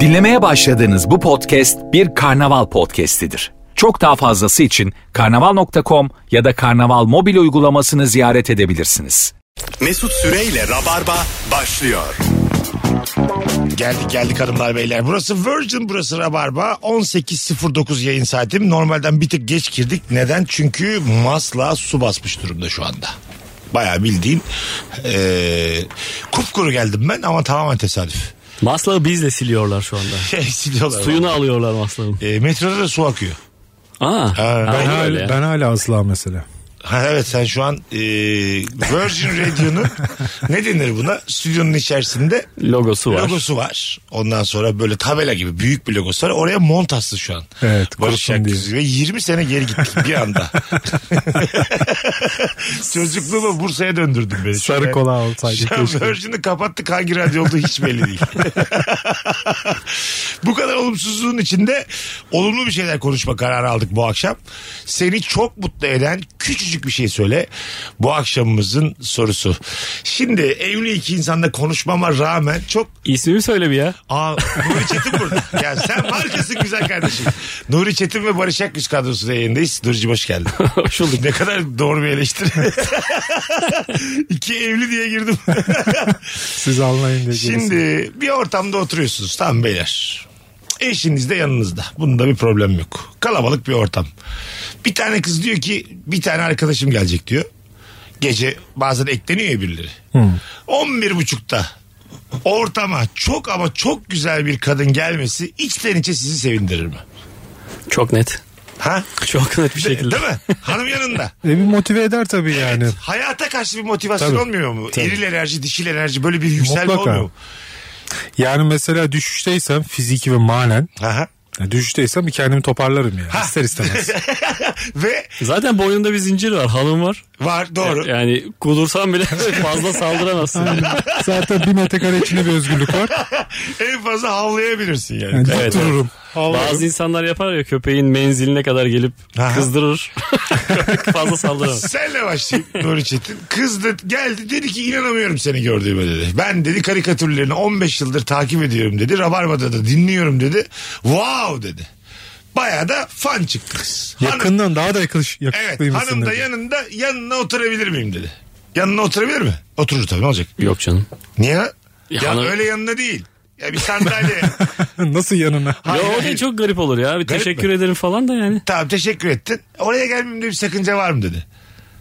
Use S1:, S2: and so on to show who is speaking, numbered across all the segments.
S1: Dinlemeye başladığınız bu podcast bir karnaval podcastidir. Çok daha fazlası için karnaval.com ya da karnaval mobil uygulamasını ziyaret edebilirsiniz.
S2: Mesut Süreyle Rabarba başlıyor.
S3: Geldik geldik hanımlar beyler. Burası Virgin burası Rabarba. 18.09 yayın saatim. Normalden bir tık geç girdik. Neden? Çünkü Masla su basmış durumda şu anda. Bayağı bildiğin eee kupkuru geldim ben ama tamamen tesadüf.
S4: Maslağı bizle siliyorlar şu anda.
S3: Siliyorlar.
S4: Suyunu alıyorlar maslağın.
S3: Eee, metroda da su akıyor.
S4: Aa.
S3: Ha,
S5: Ben,
S4: aynen
S5: hala-
S4: öyle.
S5: ben hala asla mesela.
S3: Ha, evet sen şu an eee, Virgin Radio'nun ne denir buna? Stüdyonun içerisinde
S4: Logosu var.
S3: Logosu var. Ondan sonra böyle tabela gibi büyük bir logosu var. Oraya mont astı şu an.
S5: Evet,
S3: Barış
S5: kursun
S3: Şakir ve 20 sene geri gittik bir anda. Çocukluğumu Bursa'ya döndürdüm beni.
S5: Sarı
S3: Şöyle-
S5: kola alsaydı
S3: Şu an
S5: keşke.
S3: Virgin'i kapattık hangi radyo olduğu hiç belli değil. bu kadar olumsuzluğun içinde olumlu bir şeyler konuşma kararı aldık bu akşam. Seni çok mutlu eden küçücük bir şey söyle. Bu akşamımızın sorusu. Şimdi evli iki insanla konuşmama rağmen çok
S4: İsmini söyle bir ya.
S3: Aa Nuri Çetin burada. Ya sen markasın güzel kardeşim. Nuri Çetin ve Barış Akgüz kadrosu da yayındayız. Nuri'cim hoş geldin.
S4: Hoş bulduk.
S3: Ne kadar doğru bir eleştiri. İki evli diye girdim.
S5: Siz anlayın diye. Şimdi...
S3: Şimdi bir ortamda oturuyorsunuz tam beyler. Eşiniz de yanınızda. Bunda bir problem yok. Kalabalık bir ortam. Bir tane kız diyor ki bir tane arkadaşım gelecek diyor. Gece bazen ekleniyor ya birileri.
S5: Hmm.
S3: 11.30'da ortama çok ama çok güzel bir kadın gelmesi içten içe sizi sevindirir mi?
S4: Çok net.
S3: Ha?
S4: Çok net bir
S3: De-
S4: şekilde.
S3: Değil mi? Hanım yanında.
S5: E bir motive eder tabii yani.
S3: Hayata karşı bir motivasyon
S5: Tabii.
S3: olmuyor mu?
S5: Tabii.
S3: Eril enerji, dişil enerji böyle bir yükselme
S5: Mutlaka.
S3: olmuyor mu?
S5: Yani mesela düşüşteysem fiziki ve manen.
S3: Aha.
S5: yani düşüşteysem bir kendimi toparlarım yani. İster istemez.
S3: Ve
S4: Zaten boynunda bir zincir var. Halım var.
S5: E,
S3: var doğru.
S4: Yani kudursan bile fazla saldıramazsın.
S5: Zaten bir metrekare içinde bir özgürlük var.
S3: En fazla havlayabilirsin yani.
S5: Yani
S4: Evet,
S5: dik dururum.
S4: Bazı insanlar yapar ya köpeğin menziline kadar gelip
S3: Aha.
S4: kızdırır. fazla saldıramaz.
S3: Senle başlayayım Nuri Çetin. Kız da geldi dedi ki inanamıyorum seni gördüğüme dedi. Ben dedi karikatürlerini 15 yıldır takip ediyorum dedi. Rabarba'da da dinliyorum dedi. Wow dedi. Baya da fan çıktı kız. Hanım-
S5: Yakından daha da yakış,
S3: evet
S5: yakışıklıymışsın
S3: hanım da
S5: dedi.
S3: yanında yanına oturabilir miyim dedi. Yanına oturabilir mi? Oturur tabii ne olacak?
S4: Yok canım.
S3: Niye? Ya,
S4: hanım-
S3: öyle yanına değil. Ya bir sandalye.
S5: Nasıl yanına?
S4: Ya
S3: Hayır,
S4: o
S3: hayır.
S4: da çok garip olur ya. Bir
S3: Garip
S4: teşekkür ederim falan da yani.
S3: tamam teşekkür ettin. Oraya gelmemde bir sakınca var mı dedi.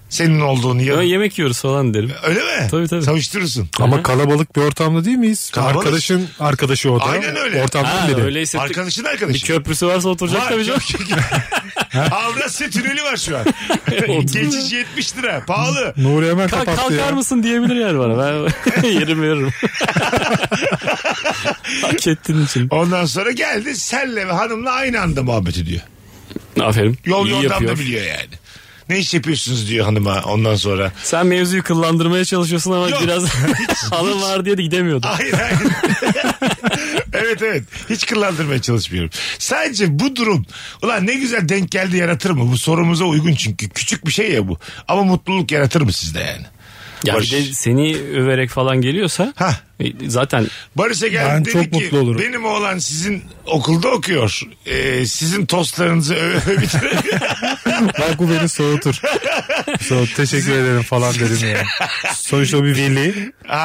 S3: Senin olduğunu
S4: Ya
S3: yanına.
S4: yemek yiyoruz falan derim.
S3: Öyle mi?
S4: Tabii, tabii.
S3: Savuşturursun.
S5: Ama kalabalık bir ortamda değil miyiz?
S3: Kalabalık.
S5: Arkadaşın arkadaşı o da.
S3: Aynen öyle.
S5: Ortamdan
S4: Ha,
S5: biri.
S4: öyleyse
S3: Arkadaşın
S4: bir
S3: arkadaşı.
S4: köprüsü varsa oturacak
S3: Var,
S4: tabii canım.
S3: çok şükür. Avrasya tüneli var şu an. Geçici 70 lira. Pahalı.
S5: Nuri hemen
S4: Kalk-
S5: kapattı
S4: kalkar
S5: ya.
S4: mısın diyebilir yani bana. Ben yerim veririm. Hak ettiğin için.
S3: Ondan sonra geldi senle ve hanımla aynı anda muhabbet ediyor.
S4: Aferin.
S3: Yol
S4: İyi
S3: yordam
S4: yapıyor.
S3: da biliyor yani. Ne iş yapıyorsunuz diyor hanıma ondan sonra.
S4: Sen mevzuyu kıllandırmaya çalışıyorsun ama
S3: Yok. Ah,
S4: biraz hanım var diye de gidemiyordun.
S3: Hayır hayır. evet evet. Hiç kıllandırmaya çalışmıyorum. Sadece bu durum ulan ne güzel denk geldi yaratır mı? Bu sorumuza uygun çünkü. Küçük bir şey ya bu. Ama mutluluk yaratır mı sizde yani?
S4: Ya
S3: Barış.
S4: bir de seni överek falan geliyorsa
S3: Hah.
S4: e, zaten
S3: Barış'a geldi
S5: Ben
S3: dedi
S5: çok
S3: ki
S5: mutlu olurum.
S3: benim oğlan sizin okulda okuyor. Ee, sizin tostlarınızı öve öve bitirir.
S5: Bak bu beni soğutur. Soğut, teşekkür ederim falan dedim yani. Sonuçta o bir veli.
S3: Aa,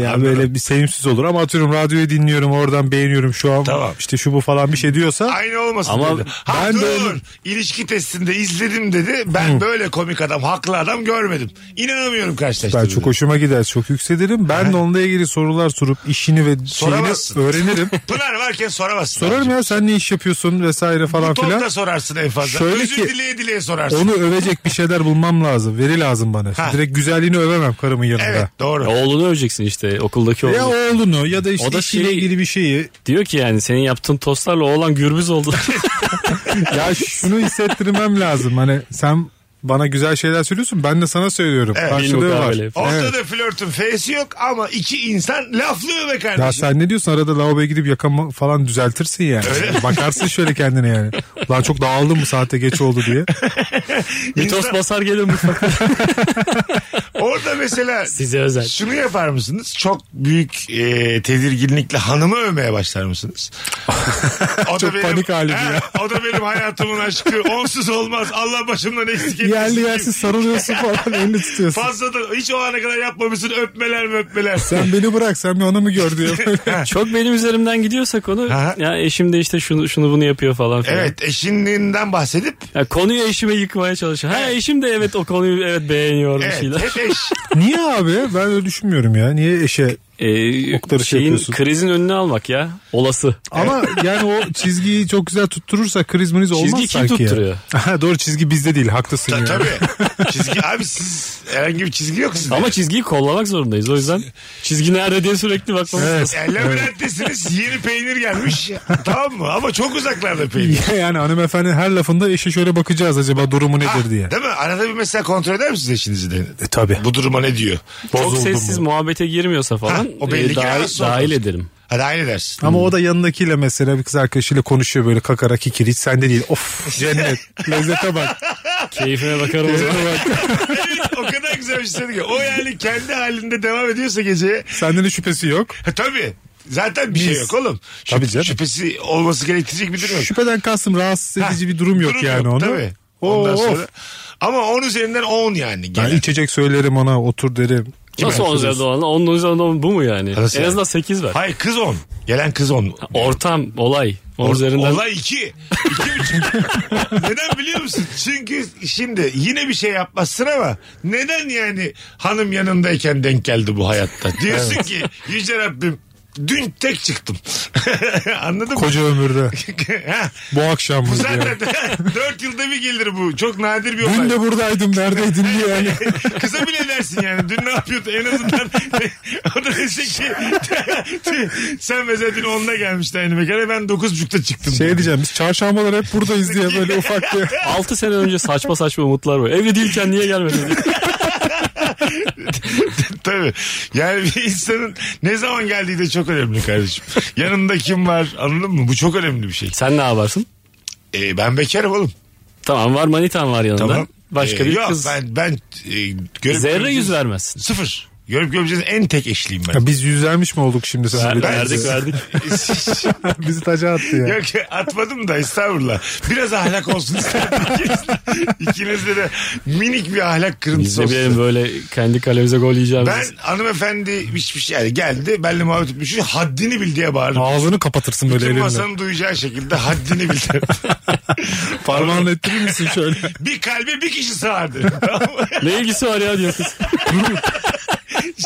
S5: Ya böyle bir sevimsiz olur ama atıyorum radyoyu dinliyorum oradan beğeniyorum şu an
S3: Tamam.
S5: işte şu bu falan bir şey diyorsa
S3: Aynı olmasın
S4: Ama
S3: dedi. Ha
S5: ben
S3: dur.
S5: böyle-
S3: İlişki testinde izledim dedi. Ben böyle komik adam, haklı adam görmedim. İnanamıyorum karşılaştırdım.
S5: ben çok hoşuma gider çok yükselirim. Ben de onunla ilgili sorular sorup işini ve
S3: Soramazsın.
S5: şeyini öğrenirim.
S3: Pınar varken soramazsın.
S5: Sorarım ya sen ne iş yapıyorsun vesaire falan
S3: Tonda
S5: filan.
S3: sorarsın en fazla.
S5: Şöyle
S3: Özür
S5: ki-
S3: dileye dileye sorarsın.
S5: Onu övecek bir şeyler bulmam lazım. Veri lazım bana. Şimdi
S3: Ha.
S5: Direkt güzelliğini övemem karımın yanında.
S3: Evet doğru.
S4: oğlunu öveceksin işte okuldaki oğlunu.
S5: Ya oğlunu ya da işte
S4: O da
S5: işiyle
S4: şey-
S5: ilgili bir şeyi.
S4: Diyor ki yani senin yaptığın tostlarla oğlan gürbüz oldu.
S5: Ya şunu hissettirmem lazım. Hani sen bana güzel şeyler söylüyorsun ben de sana söylüyorum.
S3: Evet.
S5: Karşılığı var.
S4: Bilmukabele.
S3: Ortada
S5: Evet.
S3: flörtün feysi yok ama iki insan laflıyor be kardeşim.
S5: Ya sen ne diyorsun arada lavaboya gidip yakamı falan düzeltirsin yani. Bakarsın şöyle kendine yani. Lan çok dağıldım bu saate geç oldu diye.
S4: bir tost
S3: İnsan-
S4: basar gelir mutfakta.
S3: Orada mesela
S4: Size özel.
S3: şunu yapar mısınız? Çok büyük e, tedirginlikle hanımı övmeye başlar mısınız? O da
S5: Çok panik hali bu
S3: Ha,
S5: ya.
S3: O da benim hayatımın aşkı. Onsuz olmaz. Allah başımdan eksik etmesin.
S5: Yerli yersiz sarılıyorsun falan elini tutuyorsun.
S3: Fazla da hiç o ana kadar yapmamışsın öpmeler mi öpmeler.
S5: Sen beni bırak sen bir onu mu gör diyor.
S4: Çok benim üzerimden gidiyorsa konu
S3: Aha.
S4: ya eşim de işte şunu şunu bunu yapıyor falan filan.
S3: Evet eşinden bahsedip
S4: Ya konuyu eşime yıkmaya çalışıyor. Ha eşim de evet o konuyu evet beğeniyor bir
S3: evet,
S4: şeyler.
S3: hep eş.
S5: Niye abi? Ben öyle düşünmüyorum ya. Niye eşe
S4: Ee,
S5: Oktarı şey
S4: şeyin
S5: yapıyorsun.
S4: krizin önüne almak ya. Olası.
S5: ama yani o çizgiyi çok güzel tutturursa krizminiz olmaz
S4: Çizgi kim
S5: sanki. ya.
S4: tutturuyor?
S5: Aha, Doğru çizgi bizde değil haklısın
S3: Ta-
S5: ya.
S3: tabii. Çizgi abi siz herhangi bir çizgi yok sizde.
S4: Ama çizgiyi kollamak zorundayız. O yüzden çizgi nerede diye sürekli bakmamız
S5: Evet.
S4: lazım.
S3: Labirenttesiniz yeni peynir gelmiş. tamam mı? Ama çok uzaklarda peynir.
S5: yani hanımefendi her lafında eşe şöyle bakacağız acaba
S3: Ha,
S5: durumu nedir diye.
S3: Ah, Değil mi? Arada bir mesela kontrol eder misiniz eşinizi de?
S5: E, tabii.
S3: Bu duruma ne diyor?
S4: Çok
S5: Bozuldum
S4: sessiz
S5: bu.
S4: muhabbete girmiyorsa falan
S3: Ha, o belli
S4: e,
S3: ki
S4: dahil,
S3: rahatsız
S4: dahil
S3: olmaz.
S4: ederim.
S3: Hadi aynı dersin.
S5: Ama o da yanındakiyle mesela bir kız arkadaşıyla konuşuyor böyle kakara kikiri hiç sende değil. Of cennet lezzete bak.
S4: Keyfine bakarım. o zaman.
S3: o kadar güzel bir şey söyledi ki. O yani kendi halinde devam ediyorsa geceye.
S5: Senden de şüphesi yok.
S3: Ha, tabii. Zaten bir şey
S5: Biz.
S3: yok oğlum. Şüp-
S5: Tabii canım.
S3: Şüphesi olması gerektirecek bir durum yok.
S5: Şüpheden kastım rahatsız edici
S3: Ha,
S5: bir durum yok yani onun.
S3: Tabii.
S5: Oo,
S3: Ondan sonra.
S5: of.
S3: Ama 10 üzerinden 10 yani.
S5: Ben
S3: Gelen.
S5: içecek söylerim ona otur derim.
S4: Nasıl on üzerinden olan? Onun üzerinden on bu mu yani?
S3: Nasıl
S4: en
S3: yani?
S4: azından 8 ver.
S3: Hayır kız 10. Gelen kız 10.
S4: Ortam, olay. On üzerinden
S3: Olay iki. İki buçuk. neden biliyor musun? Çünkü şimdi yine bir şey yapmazsın ama neden yani hanım yanındayken denk geldi bu hayatta? Diyorsun ki yüce Rabbim dün tek çıktım. Anladın mı?
S5: Koca ömürde.
S3: Ha,
S5: Bu akşam
S3: bu
S5: mı diye.
S3: zaten dört yılda bir gelir bu. Çok nadir bir
S5: Dün
S3: olay.
S5: de buradaydım neredeydin diye yani.
S3: Kıza bile dersin yani. Dün ne yapıyordu? En azından o da dese ki sen mesela dün 10'da gelmişti aynı mekana. Ben 9.30'da çıktım.
S5: Şey diyeceğim biz çarşambalar hep buradayız diye böyle ufak bir.
S4: 6 sene önce saçma saçma umutlar var. Evli değilken niye gelmedin? diye.
S3: Tabii. Yani bir insanın ne zaman geldiği de çok önemli kardeşim. Yanında kim var anladın mı? Bu çok önemli bir şey.
S4: Sen ne yaparsın?
S3: Ee, ben bekarım oğlum.
S4: Tamam var manitan var yanında. Başka
S3: Ee,
S4: bir
S3: yok,
S4: kız.
S3: ben, ben e, görüp
S4: Zerre
S3: görmeyeceğiz-
S4: yüz vermezsin.
S3: Sıfır. Görüp görmeyeceğiz en tek eşliyim ben.
S5: Ya biz yüzermiş mi olduk şimdi sen?
S4: Ver-
S5: öyle
S4: verdik
S5: deyince?
S4: verdik.
S5: Bizi taca attı ya.
S3: Yok atmadım da estağfurullah. Biraz ahlak olsun istedim. İkinizde de minik bir ahlak
S4: Biz
S3: kırıntısı
S4: de
S3: olsun.
S4: bilelim böyle kendi kalemize gol yiyeceğimiz.
S3: Ben hanımefendi hiçbir şey yani geldi benimle muhabbet etmiş haddini bil diye bağırdım.
S5: Ağzını kapatırsın böyle
S3: Bütün
S5: elinle.
S3: masanın duyacağı şekilde haddini bildi.
S5: Parmağını ettirir misin şöyle?
S3: bir kalbe bir kişi sığardı. Tamam mı?
S4: Ne ilgisi var ya diyor kız.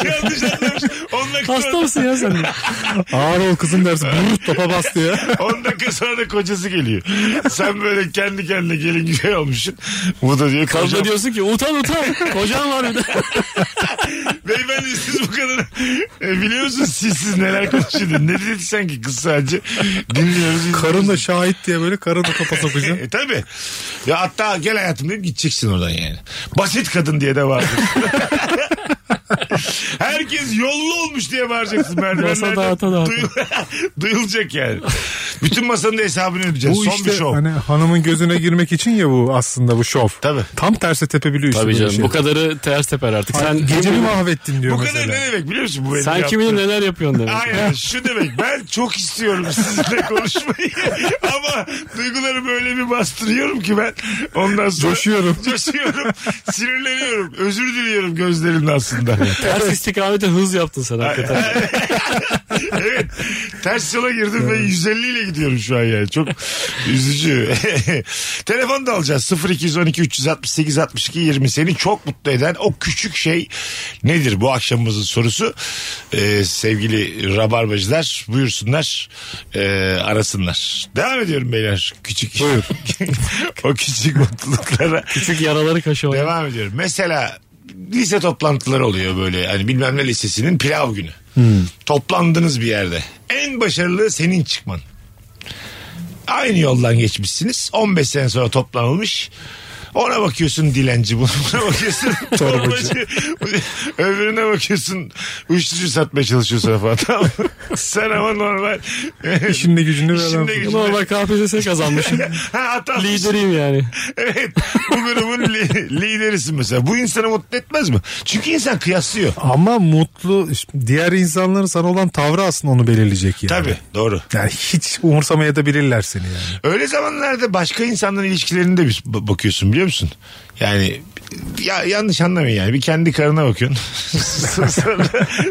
S3: Yanlış anlamış. 10 dakika,
S4: Hasta mısın ya sen?
S5: Ağır ol kızım dersin. Brrrt topa bastı ya.
S3: 10 dakika sonra da kocası geliyor. Sen böyle kendi kendine gelin gibi olmuşsun. Bu da diyor
S4: Kadına
S3: kocam.
S4: diyorsun ki utan utan. Kocan var bir de.
S3: Beyefendi siz bu kadar e, biliyor musunuz siz, siz neler konuşuyorsunuz? Ne dedi sanki kız sadece? Dinliyoruz.
S5: Karın da şahit diye böyle karın da topa sokacaksın.
S3: E tabi. Ya hatta gel hayatım deyip gideceksin oradan yani. Basit kadın diye de vardır. Herkes yollu olmuş diye bağıracaksın merdivenlerden.
S4: Masa dağıta dağıta.
S3: Duyul- Duyulacak yani. Bütün masanın da hesabını ödeyeceksin.
S5: Bu
S3: E, Son bir
S5: işte
S3: şov.
S5: hani hanımın gözüne girmek için ya bu aslında bu şov.
S3: Tabii.
S5: Tam tersi tepebiliyor işte
S4: Tabii
S5: böyle
S4: canım
S5: şey.
S4: bu kadarı ters teper artık.
S5: Ay,
S4: Sen,
S5: gecemi mahvettin diyor
S3: Bu kadar
S5: mesela.
S3: ne demek biliyor musun? Bu benim
S4: sen
S3: yaptığım-
S4: kimin neler yapıyorsun demek.
S3: Aynen şu demek ben çok istiyorum sizinle konuşmayı ama duygularımı öyle bir bastırıyorum ki ben ondan sonra
S5: Coşuyorum.
S3: coşuyorum sinirleniyorum özür diliyorum gözlerimle aslında
S4: Ters istikamete hız yaptın sen hakikaten.
S3: evet ters yola girdim ve 150 ile gidiyorum şu an yani çok üzücü telefon da alacağız 0212 368 62 20 seni çok mutlu eden o küçük şey nedir bu akşamımızın sorusu Ee, sevgili rabarbacılar buyursunlar ee, arasınlar devam ediyorum beyler küçük o küçük mutluluklara
S4: Küçük yaraları kaşıma.
S3: Devam ediyorum. Mesela lise toplantıları oluyor böyle hani bilmem ne lisesinin pilav günü. Toplandınız bir yerde. En başarılı senin çıkman. Aynı yoldan geçmişsiniz. 15 sene sonra toplanılmış. Ona bakıyorsun dilenci, buna bakıyorsun torbacı, öbürüne bakıyorsun uyuşturucu satmaya çalışıyorsun falan. Tamam. mı? Sen ama normal.
S5: İşinde gücünde bir
S3: İşinde
S5: adamsın.
S3: gücünde.
S4: Normal KPSS kazanmışım.
S3: Ha, hata-
S4: Lideriyim yani.
S3: Evet. Bu grubun li- liderisin mesela. Bu insanı mutlu etmez mi? Çünkü insan kıyaslıyor.
S5: Ama mutlu diğer insanların sana olan tavrı aslında onu belirleyecek yani.
S3: Tabii doğru.
S5: Yani hiç umursamayabilirler seni yani.
S3: Öyle zamanlarda başka insanların ilişkilerine de bir ba- bakıyorsun biliyor musun? Yani ya yanlış anlamayın yani. Bir kendi karına bakıyorsun. sonra,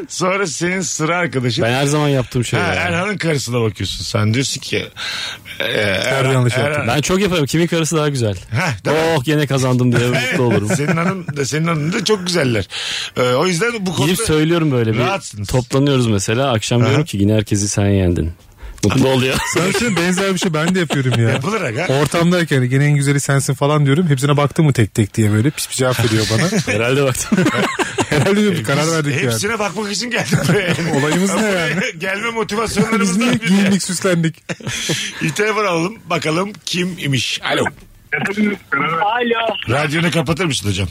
S3: sonra senin sıra arkadaşın.
S4: Ben her zaman yaptığım şey.
S3: Ha,
S4: yani.
S3: Erhan'ın karısına bakıyorsun. Sen diyorsun ki e, Erhan,
S5: yanlış
S3: Erhan-
S5: yaptım.
S4: Ben çok yaparım. Kimin karısı daha güzel?
S3: Heh, değil mi?
S4: oh gene kazandım diye mutlu olurum.
S3: senin hanım da senin hanım da çok güzeller. Ee, o yüzden bu konuda
S4: Gidip söylüyorum böyle bir.
S3: Rahatsınız.
S4: Toplanıyoruz mesela. Akşam diyorum ki yine herkesi sen yendin. Mutlu oluyor.
S5: Sana şimdi benzer bir şey ben de yapıyorum ya.
S3: yapılır aga.
S5: Ortamdayken gene en güzeli sensin falan diyorum. Hepsine baktın mı tek tek diye böyle pis bir cevap veriyor bana.
S4: Herhalde baktım.
S5: Herhalde diyor, bir karar
S3: Biz
S5: verdik yani.
S3: Hepsine bakmak için geldik buraya.
S5: Olayımız ne yani?
S3: Gelme
S5: Biz niye
S3: motivasyonlarımızdan biri.
S5: giyindik süslendik?
S3: Bir telefon alalım bakalım kim imiş. Alo.
S6: Alo.
S3: Radyonu kapatır mısın hocam?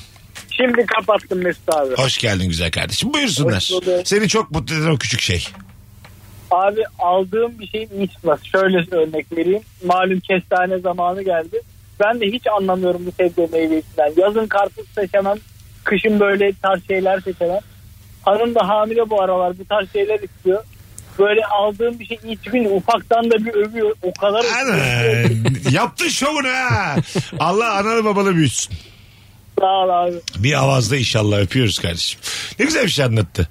S6: Şimdi kapattım Mesut abi.
S3: Hoş geldin güzel kardeşim. Buyursunlar.
S6: Hoş bulduk.
S3: Seni çok mutlu eden o küçük şey.
S6: Abi aldığım bir şey mismas. Şöyle örnek vereyim. Malum kestane zamanı geldi. Ben de hiç anlamıyorum bu sebze meyvesinden. Yazın karpuz seçemem. Kışın böyle tarz şeyler seçemem. Hanım da hamile bu aralar bu tarz şeyler istiyor. Böyle aldığım bir şey hiçbir ufaktan da bir övüyor. O kadar
S3: Ana, yaptın şovunu ha. Allah analı babalı büyütsün.
S6: sağ ol abi.
S3: Bir avazda inşallah öpüyoruz kardeşim. Ne güzel bir şey anlattı.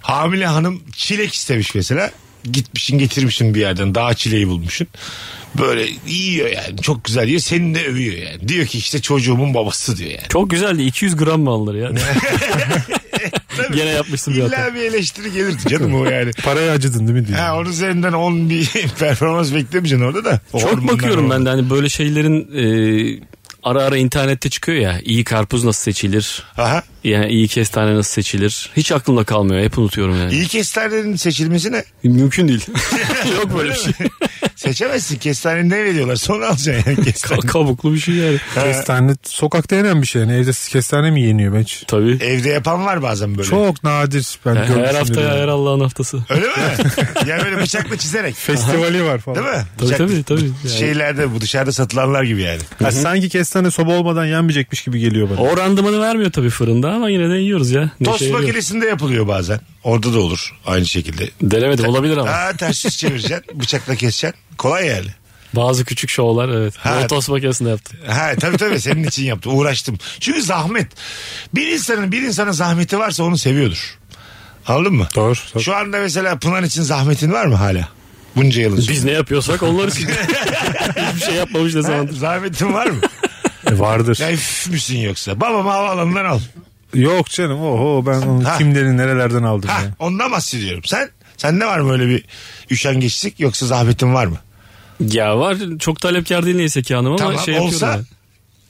S3: Hamile hanım çilek istemiş mesela. Gitmişin getirmişin bir yerden daha çileği bulmuşsun. Böyle yiyor yani çok güzel yiyor. Seni de övüyor yani. Diyor ki işte çocuğumun babası diyor yani.
S4: Çok güzeldi. 200 gram mı alınır ya? Gene yapmışsın bir hata.
S3: İlla bir eleştiri gelirdi canım o yani.
S5: Paraya acıdın değil mi diyor.
S3: Ha, onun üzerinden 10 bir performans beklemeyeceksin orada da.
S4: Çok bakıyorum ben de hani böyle şeylerin e, ara ara internette çıkıyor ya. İyi karpuz nasıl seçilir?
S3: Aha.
S4: Yani iyi kestane nasıl seçilir? Hiç aklımda kalmıyor. Hep unutuyorum yani.
S3: İyi kestanelerin seçilmesi ne?
S4: Mümkün değil. Yok böyle bir şey.
S3: Seçemezsin. Kestaneyi ne veriyorlar? Sonra alacaksın yani kestane.
S4: Ka- kabuklu bir şey yani.
S5: Kestane sokakta yenen bir şey. Yani evde kestane mi yeniyor ben hiç?
S4: Tabii.
S3: Evde yapan var bazen böyle.
S5: Çok nadir ben
S4: Her-
S5: görmüşümdür
S4: her hafta ya,
S5: yani.
S4: her Allah'ın haftası.
S3: Öyle mi? yani böyle bıçakla çizerek.
S5: Festivali var falan.
S3: Değil mi?
S4: Tabii,
S3: Bıçak-
S4: tabii, tabii. Yani.
S3: şey Şeylerde bu dışarıda satılanlar gibi yani.
S5: Ha, sanki kestane soba olmadan yenmeyecekmiş gibi geliyor bana.
S4: O randımanı vermiyor tabii fırında ama yine de yiyoruz ya. şey Neşe
S3: Tost
S4: veriyor.
S3: makinesinde yapılıyor bazen. Orada da olur aynı şekilde.
S4: Denemedim olabilir ama.
S3: Ha ters yüz çevireceksin, bıçakla keseceksin. Kolay yani.
S4: Bazı küçük şovlar evet.
S3: Ha.
S4: Bunu tost makinesinde yaptım.
S3: Ha tabii tabii senin için yaptım. Uğraştım. Çünkü zahmet. Bir insanın bir insana zahmeti varsa onu seviyordur. Anladın mı?
S5: Doğru. tabii.
S3: Şu anda mesela Pınar için zahmetin var mı hala? Bunca yılın.
S4: Biz ne yapıyorsak onlar için. Hiçbir şey yapmamış ne
S3: Ha,
S4: zamandır.
S3: zahmetin var mı?
S5: E, vardır.
S3: ya üf müsün yoksa? Babamı havaalanından al.
S5: Yok canım oho ben onu
S3: Ha.
S5: kimlerin nerelerden aldım
S3: Ha,
S5: ya.
S3: ondan bahsediyorum. Sen sende var mı öyle bir üşengeçlik yoksa zahmetin var mı?
S4: Ya var çok talepkar değil neyse ki hanım ama
S3: Tamam,
S4: şey yapıyorum.
S3: olsa-
S4: yani. Yapıyorum.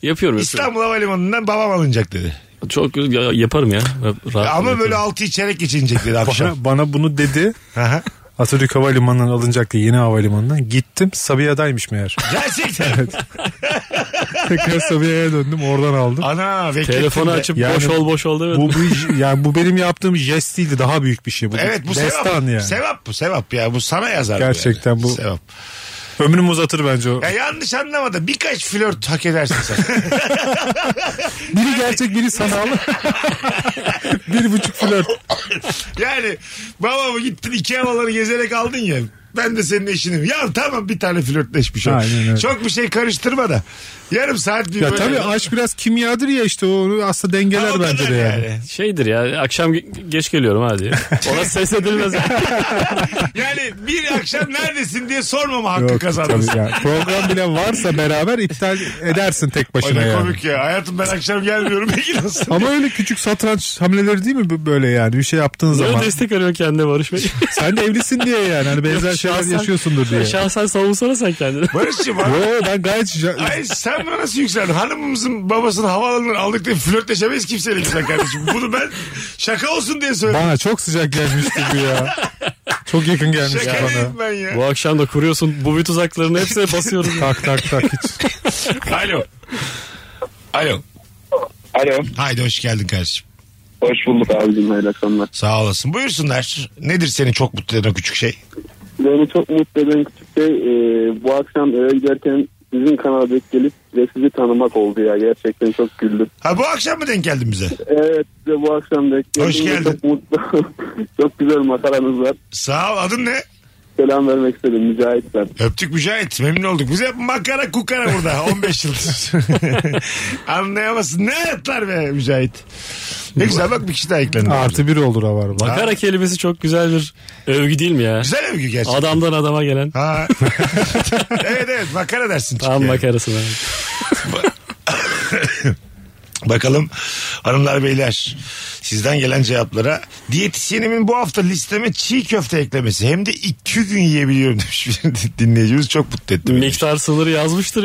S4: yapıyorum.
S3: İstanbul Havalimanı'ndan babam alınacak dedi.
S4: Çok ya- yaparım ya. Ra- rahat
S3: Ama böyle
S4: yaparım.
S3: altı içerek geçinecek dedi akşam.
S5: Bana, bana bunu dedi.
S3: Aha.
S5: Atatürk Havalimanı'ndan alınacak diye yeni havalimanından. Gittim Sabiha'daymış meğer.
S3: Gerçekten.
S5: Tekrar Sabiha'ya döndüm oradan aldım.
S3: Ana beklettin
S4: Telefonu
S3: de.
S4: açıp
S5: Yani
S4: boş ol boş ol demedim.
S5: Bu, bu, iş- yani bu benim yaptığım jest değildi daha büyük bir şey. Bu
S3: Evet bu sevap.
S5: Destan yani.
S3: Sevap bu sevap ya. Bu sana yazar. bu
S5: Gerçekten
S3: yani.
S5: bu-
S3: Sevap.
S5: Ömrümü uzatır bence o.
S3: Ya yanlış anlama da birkaç flört hak edersin sen.
S5: Biri gerçek biri sanal. bir buçuk flört.
S3: yani babamı gittin iki havaları gezerek aldın ya. Ben de senin eşinim. Ya tamam bir tane flörtleşmiş o.
S5: Aynen öyle.
S3: Çok bir şey karıştırma da. Yarım saat bir
S5: Ya
S3: böyle-
S5: tabii aşk biraz kimyadır ya işte onu aslında
S3: Ha, o
S5: dengeler
S3: kadar
S5: bence de yani.
S3: yani.
S4: Şeydir ya akşam ge- geç geliyorum hadi. Ona ses edilmez.
S3: Yani bir akşam neredesin diye sormama hakkı
S5: Yok,
S3: kazandın.
S5: tabii yani. Program bile varsa beraber iptal edersin tek
S3: O
S5: başına
S3: ne
S5: şey yani.
S3: komik ya. Hayatım ben akşam gelmiyorum. Bilgin olsun.
S5: Ama öyle küçük satranç hamleleri değil mi bu- böyle yani bir şey yaptığın
S4: Böyle
S5: zaman.
S4: destek arıyor kendine Barış Bey.
S5: Sen de evlisin diye yani hani benzer şeyler
S4: Şahsen-
S5: yaşıyorsundur diye.
S4: Şahsen savunsana sen kendini.
S3: Barış'cığım ha-
S5: Yo ben gayet şa-
S3: Ay sen bana nasıl yükseldin? Hanımımızın babasını havaalanından aldık diye flörtleşemeyiz kimseyle güzel kardeşim. Bunu ben şaka olsun diye söyledim.
S5: bana çok sıcak gelmişti bu ya. Çok yakın gelmişti
S3: Şaka
S5: bana.
S3: değilim ben ya.
S4: Bu akşam da kuruyorsun bu bir tuzaklarını hepsine basıyoruz.
S5: Tak tak tak hiç.
S3: Alo. Alo.
S7: Alo.
S3: Haydi hoş geldin kardeşim.
S7: Hoş bulduk abicim. Hayırlı akşamlar.
S3: Sağ olasın. Buyursunlar. Nedir seni çok mutlu eden o küçük şey?
S7: Beni çok mutlu eden küçük şey e, bu akşam eve giderken sizin kanala denk gelip ve sizi tanımak oldu ya. Gerçekten çok güldüm.
S3: Ha bu akşam mı denk geldin bize?
S7: Evet size bu akşam denk geldim.
S3: Hoş
S7: ve
S3: geldin.
S7: Çok mutlu. çok güzel makaranız var.
S3: Sağ ol. Adın ne?
S7: Selam vermek istedim. Mücahit ben.
S3: Öptük Mücahit. Memnun olduk. Bize hep makara kukara burada. 15 yıldız. Anlayamazsın. Ne hayatlar be Mücahit. Ne güzel bak bir kişi daha eklendi.
S5: Artı bir olur var bak.
S4: Makara kelimesi çok güzel bir övgü değil mi ya?
S3: Güzel övgü gerçekten.
S4: Adamdan adama gelen.
S3: Ha. evet evet makara dersin. çünkü
S4: Tam
S3: yani.
S4: makarasına.
S3: Bakalım hanımlar beyler sizden gelen cevaplara diyetisyenimin bu hafta listeme çiğ köfte eklemesi hem de iki gün yiyebiliyorum demiş bir dinleyicimiz çok mutlu etti. beni.
S4: Miktar sınırı yazmıştır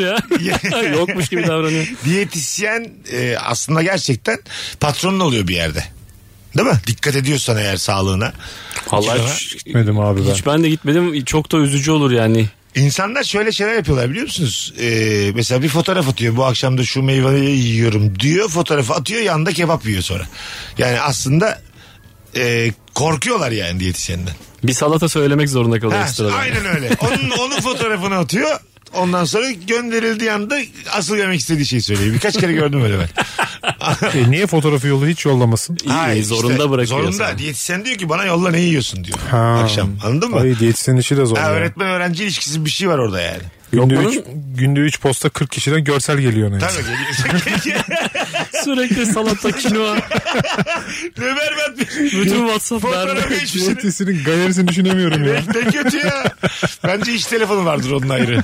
S4: ya. Yokmuş gibi davranıyor.
S3: Diyetisyen e, aslında gerçekten patronun oluyor bir yerde. Değil mi? Dikkat ediyorsan eğer sağlığına.
S4: Vallahi
S3: Kilona.
S4: hiç,
S5: Gitmedim abi ben.
S4: hiç ben de gitmedim. Çok da üzücü olur yani.
S3: İnsanlar şöyle şeyler yapıyorlar biliyor musunuz? Ee, mesela bir fotoğraf atıyor. Bu akşam da şu meyveyi yiyorum diyor. Fotoğrafı atıyor. Yanında kebap yiyor sonra. Yani aslında e, korkuyorlar yani diyetisyenden.
S4: Bir salata söylemek zorunda kalıyor
S3: Ha,
S4: ekstradan.
S3: aynen öyle. Onun, onun fotoğrafını atıyor. Ondan sonra gönderildiği anda asıl yemek istediği şeyi söylüyor. Birkaç kere gördüm öyle ben.
S5: E, niye fotoğrafı yolu hiç yollamasın?
S4: İyi,
S3: Hayır,
S4: zorunda
S3: işte,
S4: bırakıyor.
S3: Zorunda.
S4: sana.
S3: Diyetisyen diyor ki bana yolla ne yiyorsun diyor.
S5: Ha.
S3: Akşam. Anladın mı?
S5: Ay diyetisyenin işi de zor.
S3: Ha,
S5: ya.
S3: öğretmen öğrenci ilişkisi bir şey var orada yani.
S5: Günde
S4: Yok
S5: 3 günde üç posta 40 kişiden görsel geliyor ne?
S3: Tabii geliyor.
S4: Sürekli salata, kinoa,
S3: ne berbat bir
S4: bütün WhatsApp
S3: fotoğraf
S4: derdi.
S3: hiçbir şey
S5: Diyetisyinin galerisini düşünemiyorum ya.
S3: Ne kötü ya. Bence iş telefonu vardır onun ayrı.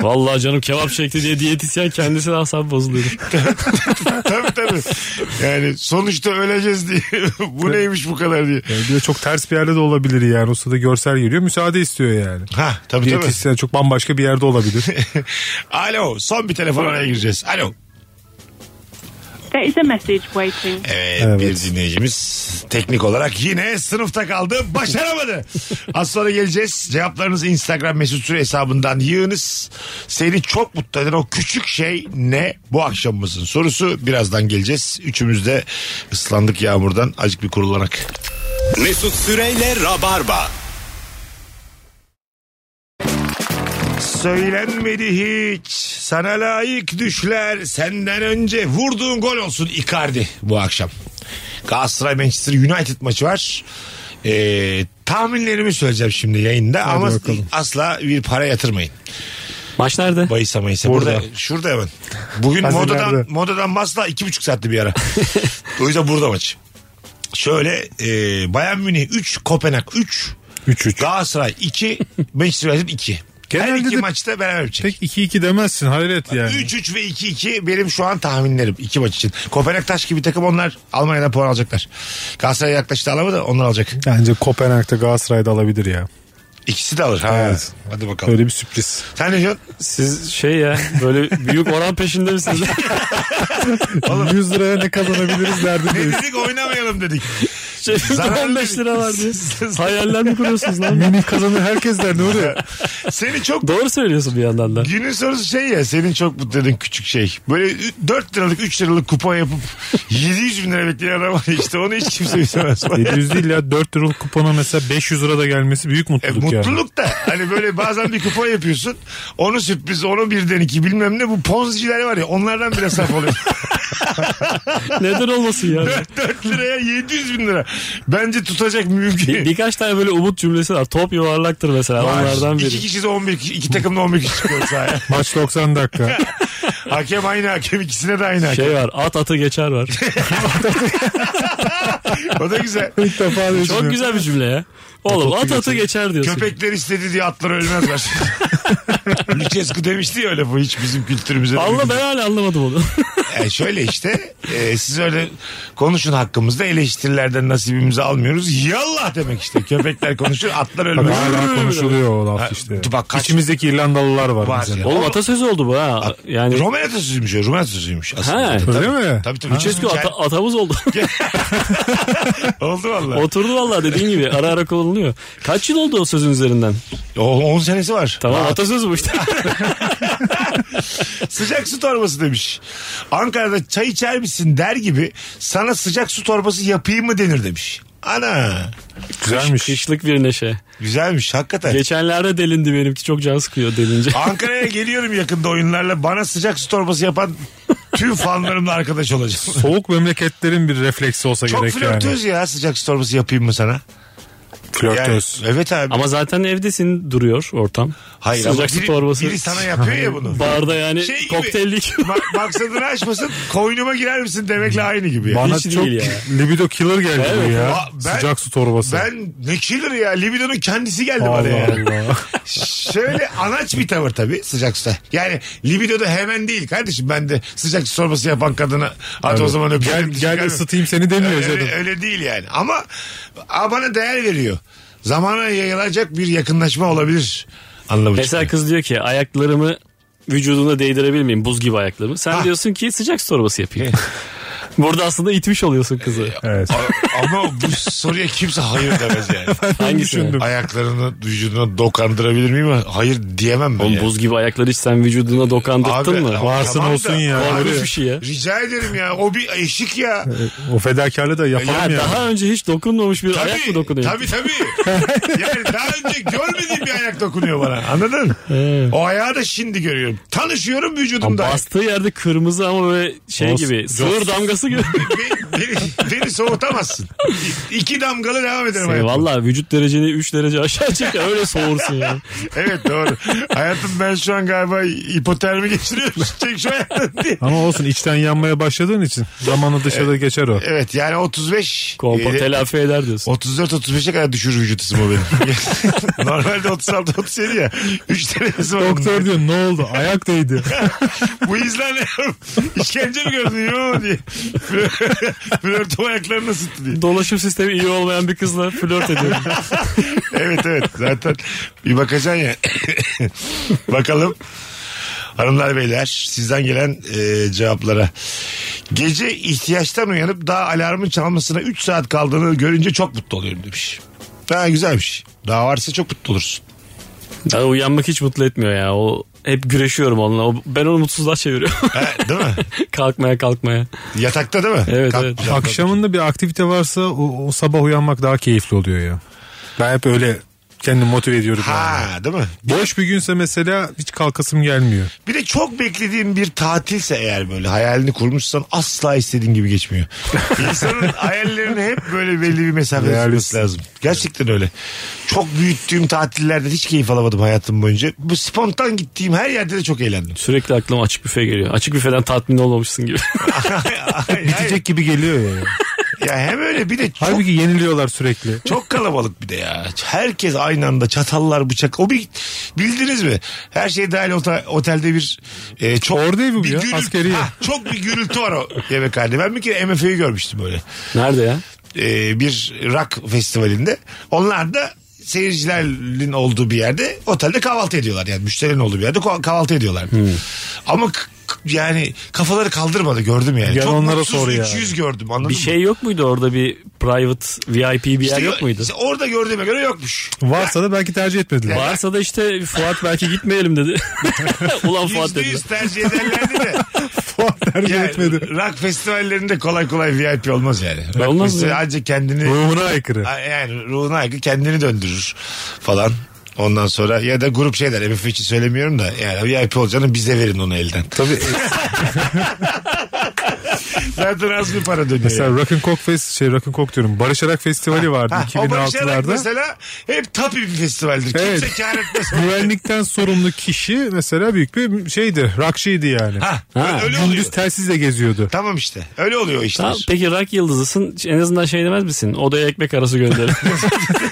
S4: Vallahi canım kebap çekti diye diyetisyen kendisine asabı bozuluyor.
S3: tabii tabii. Yani sonuçta öleceğiz diye. bu neymiş bu kadar diye.
S5: Yani bir de çok ters bir yerde de olabilir yani. O sırada görsel geliyor. Müsaade istiyor yani.
S3: Ha tabii tabii.
S5: Diyetisyen çok bambaşka bir yerde olabilir.
S3: Alo son bir telefon araya gireceğiz. Alo.
S8: There is a message waiting.
S3: Evet,
S5: Evet.
S3: bir dinleyicimiz teknik olarak yine sınıfta kaldı. Başaramadı. Az sonra geleceğiz. Cevaplarınızı Instagram mesut süre hesabından yığınız. Seni çok mutlu eden o küçük şey ne bu akşamımızın sorusu. Birazdan geleceğiz. Üçümüz de ıslandık yağmurdan. Acık bir kurulanak.
S2: Mesut Süreyle Rabarba.
S3: Söylenmedi hiç. Sana layık düşler. Senden önce vurduğun gol olsun Icardi bu akşam. Galatasaray Manchester United maçı var. Ee, tahminlerimi söyleyeceğim şimdi yayında ama
S5: bakalım.
S3: asla bir para yatırmayın.
S4: Maç nerede?
S3: Bayisa mayisa.
S5: Burada.
S3: Burada. Şurada hemen. Bugün
S5: Hazır
S3: modadan,
S5: nerede?
S3: modadan basla iki buçuk saatli bir ara. o yüzden burada maç. Şöyle e, Bayern Münih 3, Kopenhag 3,
S5: 3-3.
S3: Galatasaray 2, Manchester United 2. Her
S5: Genelde
S3: iki
S5: de-
S3: maçta beraber şey. bitecek.
S5: Pek 2-2 demezsin hayret yani.
S3: 3-3 ve 2-2 benim şu an tahminlerim iki maç için. Kopenhag taş gibi takım onlar Almanya'dan puan alacaklar. Galatasaray yaklaştı alamadı onlar alacak.
S5: Bence Kopenhag'da Galatasaray'da alabilir ya.
S3: İkisi de alır. Ha.
S5: Evet.
S3: Hadi bakalım.
S5: Böyle bir sürpriz.
S3: Sen ne diyorsun?
S4: Siz şey ya böyle büyük oran peşinde misiniz?
S5: 100 liraya ne kazanabiliriz
S3: Ne
S5: derdindeyiz.
S3: dedik oynamayalım dedik.
S4: Şey,
S3: Zararlı
S4: 15 lira var diye.
S3: değil.
S4: Hayaller mi kuruyorsunuz lan?
S5: Münih kazanır herkes der ne oluyor?
S3: Seni çok
S4: Doğru söylüyorsun bir yandan da.
S3: Günün sorusu şey ya senin çok mutlu eden küçük şey. Böyle ü- 4 liralık 3 liralık kupon yapıp 700 bin lira bekleyen adam var ya, işte onu hiç kimse istemez.
S5: 700 değil ya 4 liralık kupona mesela 500 lira da gelmesi büyük
S3: E,
S5: mutluluk, yani.
S3: mutluluk da hani böyle bazen bir kupon yapıyorsun. Onu sürpriz onu birden iki bilmem ne bu ponziciler var ya onlardan bile saf oluyor.
S4: Neden olmasın ya?
S3: 4 liraya 700 bin lira. Bence tutacak
S4: Bir,
S3: mümkün.
S4: birkaç tane böyle umut cümlesi var. Top yuvarlaktır mesela onlardan
S3: İki
S4: biri.
S3: kişi de 11 kişi, iki takım da 11 kişi çıkıyor sahaya.
S5: Maç 90 dakika.
S3: Hakem aynı hakem ikisine de aynı hakem.
S4: Şey var at atı geçer var.
S3: O da güzel.
S5: İlk defa
S4: Çok
S5: düşünüyorum.
S4: güzel bir cümle ya. Oğlum at atı geçer diyorsun.
S3: Köpekler istedi diye atlar ölmezler. Lüçescu demişti ya öyle bu hiç bizim kültürümüze.
S4: Allah ben hala anlamadım onu.
S3: E, şöyle işte e, siz öyle konuşun hakkımızda eleştirilerden nasibimizi almıyoruz. Yallah demek işte köpekler konuşur atlar
S5: Tabii
S3: ölmez.
S5: hala konuşuluyor o laf
S3: Ha,
S5: işte.
S3: bak kaç-
S5: İçimizdeki İrlandalılar var,
S3: Var
S5: mesela.
S3: ya.
S4: Oğlum atasözü oldu bu ha. Yani
S3: Roma'ya atasözüymüş o. Rumen atasözüymüş aslında.
S4: Ha.
S3: Tabii,
S5: Öyle mi?
S3: Tabii tabii.
S4: Lucescu
S3: Hikaye-
S4: ata- atamız oldu.
S3: Oldu valla.
S4: Oturdu vallahi dediğin gibi ara ara kullanılıyor. Kaç yıl oldu o sözün üzerinden?
S3: O- 10 senesi var.
S4: Tamam atasöz bu işte.
S3: Sıcak su torbası demiş. Ankara'da çay içer misin der gibi sana sıcak su torbası yapayım mı denir demiş. Ana
S5: Güzelmiş.
S4: Kışlık bir neşe.
S3: güzelmiş hakikaten.
S4: Geçenlerde delindi benimki çok can sıkıyor delince.
S3: Ankara'ya geliyorum yakında oyunlarla bana sıcak su torbası yapan tüm fanlarımla arkadaş olacağım.
S5: Soğuk memleketlerin bir refleksi olsa
S3: Çok
S5: gerek yani.
S3: flörtöz ya sıcak su torbası yapayım mı sana? Yani,
S5: Flörtöz.
S3: evet abi.
S4: Ama zaten evdesin duruyor ortam.
S3: Hayır
S4: Sıcak
S3: ama
S4: su
S3: biri,
S4: torbası.
S3: biri sana yapıyor ya bunu.
S4: Barda yani
S3: Şey gibi.
S4: kokteyllik.
S3: Ma- maksadını aşmasın koynuma girer misin demekle aynı gibi. ya.
S5: Bana
S4: Hiç
S5: çok
S4: değil ya.
S5: libido killer geldi bu ya.
S3: Ba- e, ben-
S5: Sıcak su torbası.
S3: Ben ne killer ya libidonun kendisi geldi
S5: Allah
S3: bana ya.
S5: Allah.
S3: Şöyle anaç bir tavır tabii sıcak su. Yani libido da hemen değil kardeşim. Ben de sıcak su çorbası yapan kadına hadi o zaman şey
S5: gel
S3: öpeyim.
S5: gel ısıtayım seni demiyor
S3: öyle,
S5: canım.
S3: öyle, öyle değil yani. Ama a, bana değer veriyor. Zamana yayılacak bir yakınlaşma olabilir. Anlamı
S4: Mesela
S3: çıkıyor.
S4: kız diyor ki ayaklarımı vücuduna değdirebilir miyim buz gibi ayaklarımı? Sen
S3: Ha.
S4: diyorsun ki sıcak su torbası yapayım. Burada aslında itmiş oluyorsun kızı.
S5: Evet.
S3: A- Ama bu soruya kimse hayır demez yani.
S4: Hangisini?
S3: Ayaklarını vücuduna dokandırabilir miyim? Hayır diyemem ben.
S4: Oğlum
S3: yani.
S4: buz gibi ayakları hiç sen vücuduna dokandırttın
S3: Abi,
S4: mı?
S3: ama
S5: Varsın
S3: tamam da-
S5: olsun ya.
S3: Abi,
S4: Korkunç bir şey ya.
S3: Rica ederim ya. O bir eşik ya.
S5: O fedakarlığı da
S4: Ha,
S5: yapalım ya.
S4: Daha önce hiç dokunmamış bir ayak mı dokunuyor?
S3: Tabii tabii. yani daha önce görmediğim bir ayak dokunuyor bana. Anladın? mı? o ayağı da şimdi görüyorum. Tanışıyorum
S4: Ama
S3: vücudumda.
S4: bastığı yerde kırmızı ama böyle şey
S5: Olsun.
S4: gibi sığır damgası gibi.
S3: beni, beni, beni soğutamazsın. İ- İki damgalı devam ederim
S4: Seni
S3: hayatım.
S4: Valla vücut dereceni 3 derece aşağı çek öyle soğursun yani.
S3: Evet doğru. hayatım ben şu an galiba hipotermi geçiriyorum. Çek şu ayağını diye.
S5: Ama olsun içten yanmaya başladığın için zamanı dışarı geçer o.
S3: Evet yani 35.
S4: Kompa
S3: e,
S4: telafi eder diyorsun.
S3: 34-35'e kadar düşür vücut ısımı benim. Normalde 36-37 ya. 3 tane ısım var.
S5: Doktor diyor ne oldu? Ayak değdi.
S3: Bu izler ne? İşkence mi gördün yo diye. Flör- Flörtüm ayaklarını ısıttı diye.
S4: Dolaşım sistemi iyi olmayan bir kızla flört ediyorum.
S3: Evet evet zaten bir bakacaksın ya. Bakalım. Hanımlar beyler sizden gelen e, cevaplara. Gece ihtiyaçtan uyanıp daha alarmın çalmasına 3 saat kaldığını görünce çok mutlu oluyorum demiş. Ha güzelmiş. Daha varsa çok mutlu olursun.
S4: Ya uyanmak hiç mutlu etmiyor ya. O hep güreşiyorum onunla. O- ben onu mutsuzluğa çeviriyorum.
S3: Ha, değil mi?
S4: kalkmaya kalkmaya.
S3: Yatakta değil mi?
S4: Evet,
S3: Kalk-
S4: evet.
S3: Güzel kalk.
S5: Akşamında bir aktivite varsa o, o sabah uyanmak daha keyifli oluyor ya. Ben hep öyle kendimi motive ediyorum. yani.
S3: Ha değil mi?
S5: Boş bir günse mesela hiç kalkasım gelmiyor.
S3: Bir de çok beklediğin bir tatilse eğer böyle hayalini kurmuşsan asla istediğin gibi geçmiyor. İnsanın hayallerini hep böyle belli bir mesafede
S5: Realist.
S3: tutması lazım. Gerçekten öyle. Çok büyüttüğüm tatillerden hiç keyif alamadım hayatım boyunca. Bu spontan gittiğim her yerde de çok eğlendim.
S4: Sürekli aklıma açık büfe geliyor. Açık büfeden tatmin olmamışsın gibi.
S3: Hayır, hayır.
S5: Bitecek gibi geliyor ya.
S3: Ya hem öyle bir de çok,
S5: Halbuki yeniliyorlar sürekli.
S3: çok kalabalık bir de ya. Herkes aynı anda çatallar bıçak. O bir bildiniz mi? Her şey dahil ota- otelde bir e, çok
S5: Ordu evi bu
S3: bir
S5: ya, askeri.
S3: çok bir gürültü var o yemekhanede. Ben bir kere MFÖ'yü görmüştüm öyle.
S4: Nerede ya?
S3: e, bir rock festivalinde. Onlar da seyircilerin olduğu bir yerde otelde kahvaltı ediyorlar. Yani müşterinin olduğu bir yerde ko- kahvaltı ediyorlar.
S5: Hmm.
S3: Ama k- k- yani kafaları kaldırmadı gördüm yani.
S5: Gel
S3: Çok
S5: onlara
S3: mutsuz
S5: sor ya.
S3: 300 gördüm anladın
S4: Bir
S3: mı?
S4: şey yok muydu orada bir private VIP bir
S3: İşte
S4: yer
S3: yo-
S4: yok muydu?
S3: işte orada gördüğüme göre yokmuş.
S5: Varsa da belki tercih etmediler.
S4: Varsa da işte Fuat belki gitmeyelim dedi. Ulan Fuat
S3: Yüzde
S4: dedi.
S3: yüz tercih ederlerdi de.
S5: Puan tercih
S3: yani
S5: etmedi.
S3: rock festivallerinde kolay kolay VIP olmaz yani. Rock
S4: Olmaz mı
S3: festivali
S4: ya?
S3: ancak kendini...
S5: Ruhuna aykırı.
S3: A- yani ruhuna aykırı kendini döndürür falan. Ondan sonra ya da grup şey şeyler MF için söylemiyorum da yani VIP olacağını bize verin onu elden. Tabii. Zaten az bir para dönüyor.
S5: Mesela
S3: yani.
S5: Rock'n Coke Fest, şey Rock'n Coke diyorum. Barış Arak Festivali vardı
S3: Ha, o başlayarak
S5: 2006'larda.
S3: mesela hep tabii bir festivaldir.
S5: Evet.
S3: Kimse kar etmez.
S5: Güvenlikten sorumlu kişi mesela büyük bir şeydi. Rockçıydı yani.
S3: ha,
S4: Ha,
S3: öyle oluyor.
S5: Gündüz telsizle geziyordu.
S3: Tamam işte. Öyle oluyor işte.
S4: Tamam, peki rak yıldızısın en azından şey demez misin? Odaya ekmek arası gönderin.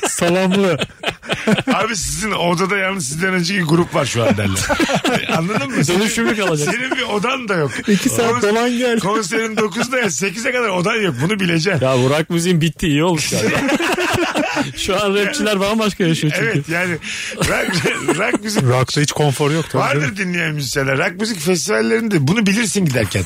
S5: Salamlı.
S3: Abi sizin odada yalnız sizden önceki grup var şu an derler. Anladın mı?
S4: Dönüşümlü kalacak.
S3: Senin bir odan da yok.
S5: İki saat
S3: Kons-
S5: dolan gel.
S3: Konserin 9'da ya 8'e kadar odan yok. Bunu bileceksin.
S4: ya bu rak müziğin bitti iyi olmuş yani. Şu an rapçiler bambaşka yaşıyor çünkü.
S3: Evet yani rock, rock müzik
S5: Rock'ta hiç konfor yok tabii. canım.
S3: Vardır dinleyen müzisyenler. Rock müzik festivallerinde bunu bilirsin giderken.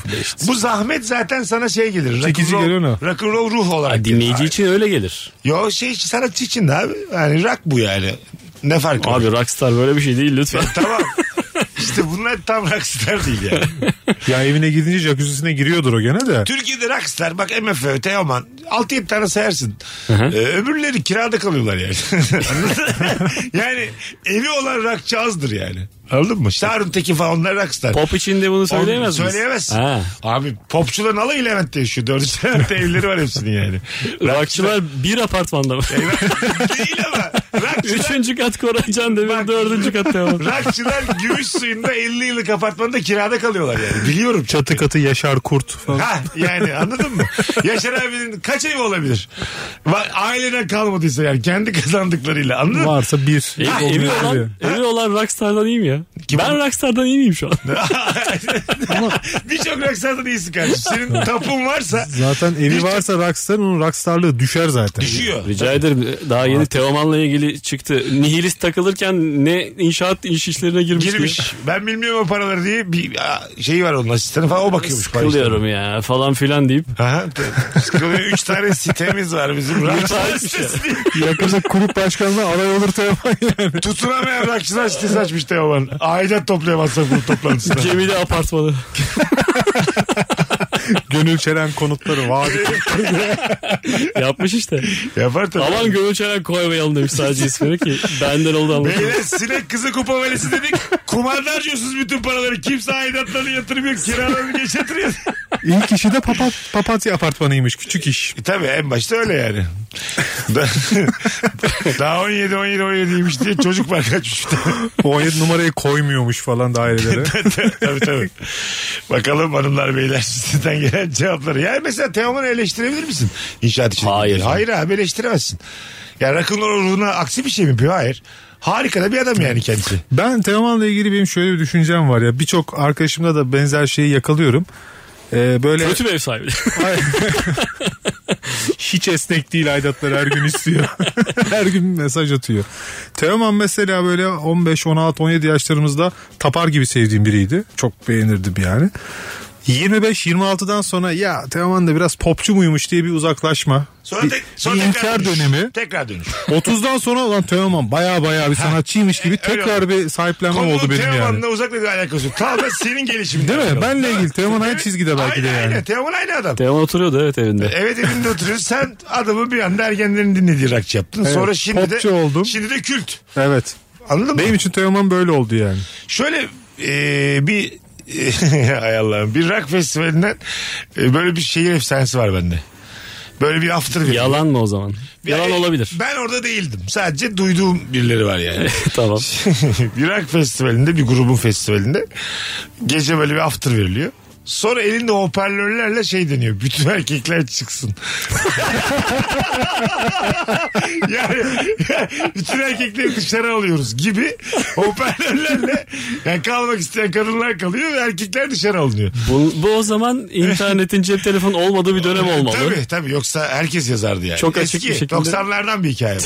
S3: Bu zahmet zaten sana şey gelir.
S5: Çekici
S3: rock'n'roll-
S5: geliyor mu?
S3: rock'n'roll ruh olarak.
S4: Ha, dinleyici için öyle gelir.
S3: Yo şey sanatçı için de abi. Yani rock bu yani. Ne farkı var? E,
S4: Abi rockstar böyle bir şey değil lütfen.
S3: tamam. İşte bunlar tam rockstar değil yani.
S5: Ya evine gidince jacuzzi'ne giriyordur o gene de.
S3: Türkiye'de rockstar bak MFÖ, Teoman 6-7 tane sayarsın. Ee, öbürleri kirada kalıyorlar yani. Anladın mı? yani evi olan rockçı azdır yani. Anladın mı? Şarun Tekin falan onlar rockstar.
S4: Pop için de bunu söyleyemez miyiz?
S3: Söyleyemez.
S4: Ha.
S3: Abi popçuların alayı Levent'te yaşıyor. Dördüncü Levent'te evleri var hepsinin yani.
S4: Rockçılar bir apartmanda mı?
S3: Değil ama. Rockçılar,
S4: Üçüncü kat Koray Can
S3: Bak.
S4: Demir, dördüncü kat Teoman.
S3: rockçılar gümüş suyunda 50 yıllık apartmanda kirada kalıyorlar yani. Biliyorum. çok.
S5: Çatı katı Yaşar Kurt falan.
S3: Ha yani anladın mı? Yaşar abinin kaç evi olabilir? Va- Aileden kalmadıysa yani kendi kazandıklarıyla anladın mı?
S5: Varsa bir.
S4: E,
S5: olmuyor
S4: evi olan,
S5: gibi.
S4: evi olan Rockstar'dan iyiyim ya.
S3: Kim
S4: ben
S3: o?
S4: Rockstar'dan iyi miyim şu an?
S3: Birçok rockstardan iyisin kardeşim. Senin tapun varsa
S5: Zaten evi
S3: Bir-
S5: varsa rockstar onun rockstarlığı düşer zaten.
S3: düşüyor.
S4: Rica ederim. Daha yeni Teoman'la ilgili çıktı. Nihilist takılırken ne inşaat iş işlerine girmiş. diye.
S3: Girmiş. Ben bilmiyorum o paraları diye bir aa, şeyi var onun asistanı falan o bakıyormuş. para işlerine.
S4: Sıkılıyorum ya falan filan deyip.
S3: Aha. Sıkılıyor. Üç tane sitemiz var bizim. Rockstar sitesi diye.
S5: Yakında kulüp başkanına aray olur Teoman yani.
S3: Tutunamayan rockstar sitesi açmış Teoman. Aidat topluyor masrafı toplantısına.
S4: Cemile apartmanı.
S5: Gönül çelen konutları var.
S4: Yapmış işte.
S3: Yapar tabii.
S4: Aman gönül çelen koymayalım demiş sadece ismini ki. Benden oldu ama.
S3: Beyler sinek kızı kupa velisi dedik. Kumarda harcıyorsunuz bütün paraları. Kimse aidatlarını yatırmıyor. Kiralarını geç yatırıyor.
S5: İlk işi de papat, papatya apartmanıymış. Küçük iş.
S3: E tabii en başta öyle yani. Da- Daha 17 17 17'ymiş diye çocuk var kaçmış.
S5: O ayet numarayı koymuyormuş falan dairelere.
S3: tabii tabii. Bakalım hanımlar beyler sizden gelen cevapları. Yani mesela Teoman'ı eleştirebilir misin? İnşaat için.
S4: Hayır.
S3: Hayır abi eleştiremezsin. Ya rakın ruhuna aksi bir şey mi yapıyor? Hayır. Harika da bir adam yani kendisi.
S5: Ben Teoman'la ilgili benim şöyle bir düşüncem var ya. Birçok arkadaşımda da benzer şeyi yakalıyorum. Ee, böyle
S4: Kötü bir ev sahibi.
S5: hiç esnek değil aidatları her gün istiyor. her gün mesaj atıyor. Teoman mesela böyle 15, 16, 17 yaşlarımızda tapar gibi sevdiğim biriydi. Çok beğenirdim yani. 25-26'dan sonra ya Teoman da biraz popçu muymuş diye bir uzaklaşma.
S3: Sonra,
S5: bir,
S3: tek, sonra
S5: bir
S3: tekrar
S5: inkar
S3: dönüş.
S5: dönemi.
S3: Tekrar dönüş.
S5: 30'dan sonra lan Teoman baya baya bir sanatçıymış gibi
S3: öyle
S5: tekrar
S3: oldu.
S5: bir sahiplenme
S3: Konunun
S5: oldu benim yani.
S3: Teoman'la uzakla bir alakası yok. Tamamen senin gelişimin.
S5: Değil mi? Benle ilgili Teoman aynı çizgide belki de
S3: Aynen,
S5: yani.
S3: Aynen Teoman aynı adam.
S4: Teoman oturuyordu evet evinde.
S3: Evet evinde oturuyorsun. Sen adamı bir anda ergenlerin dinlediği rakçı yaptın.
S5: Evet,
S3: Sonra şimdi de
S5: popçu oldum.
S3: şimdi de kült.
S5: Evet.
S3: Anladın
S5: Benim
S3: mı?
S5: için Teoman böyle oldu yani.
S3: Şöyle e, bir e, Hay Allah'ım. Bir rock festivalinden e, böyle bir şehir efsanesi var bende. Böyle bir after bir.
S4: Yalan mı o zaman? Yalan
S3: Yani
S4: olabilir.
S3: Ben orada değildim. Sadece duyduğum birileri var yani.
S4: tamam.
S3: bir rock festivalinde bir grubun festivalinde gece böyle bir after veriliyor. Sonra elinde hoparlörlerle şey deniyor. Bütün erkekler çıksın. yani bütün erkekleri dışarı alıyoruz gibi hoparlörlerle yani kalmak isteyen kadınlar kalıyor ve erkekler dışarı alınıyor.
S4: Bu, bu o zaman internetin cep telefonu olmadığı bir dönem olmalı.
S3: E, Tabii tabii yoksa herkes yazardı yani.
S4: Çok açık
S3: Eski
S4: bir şekilde.
S3: 90'lardan bir hikaye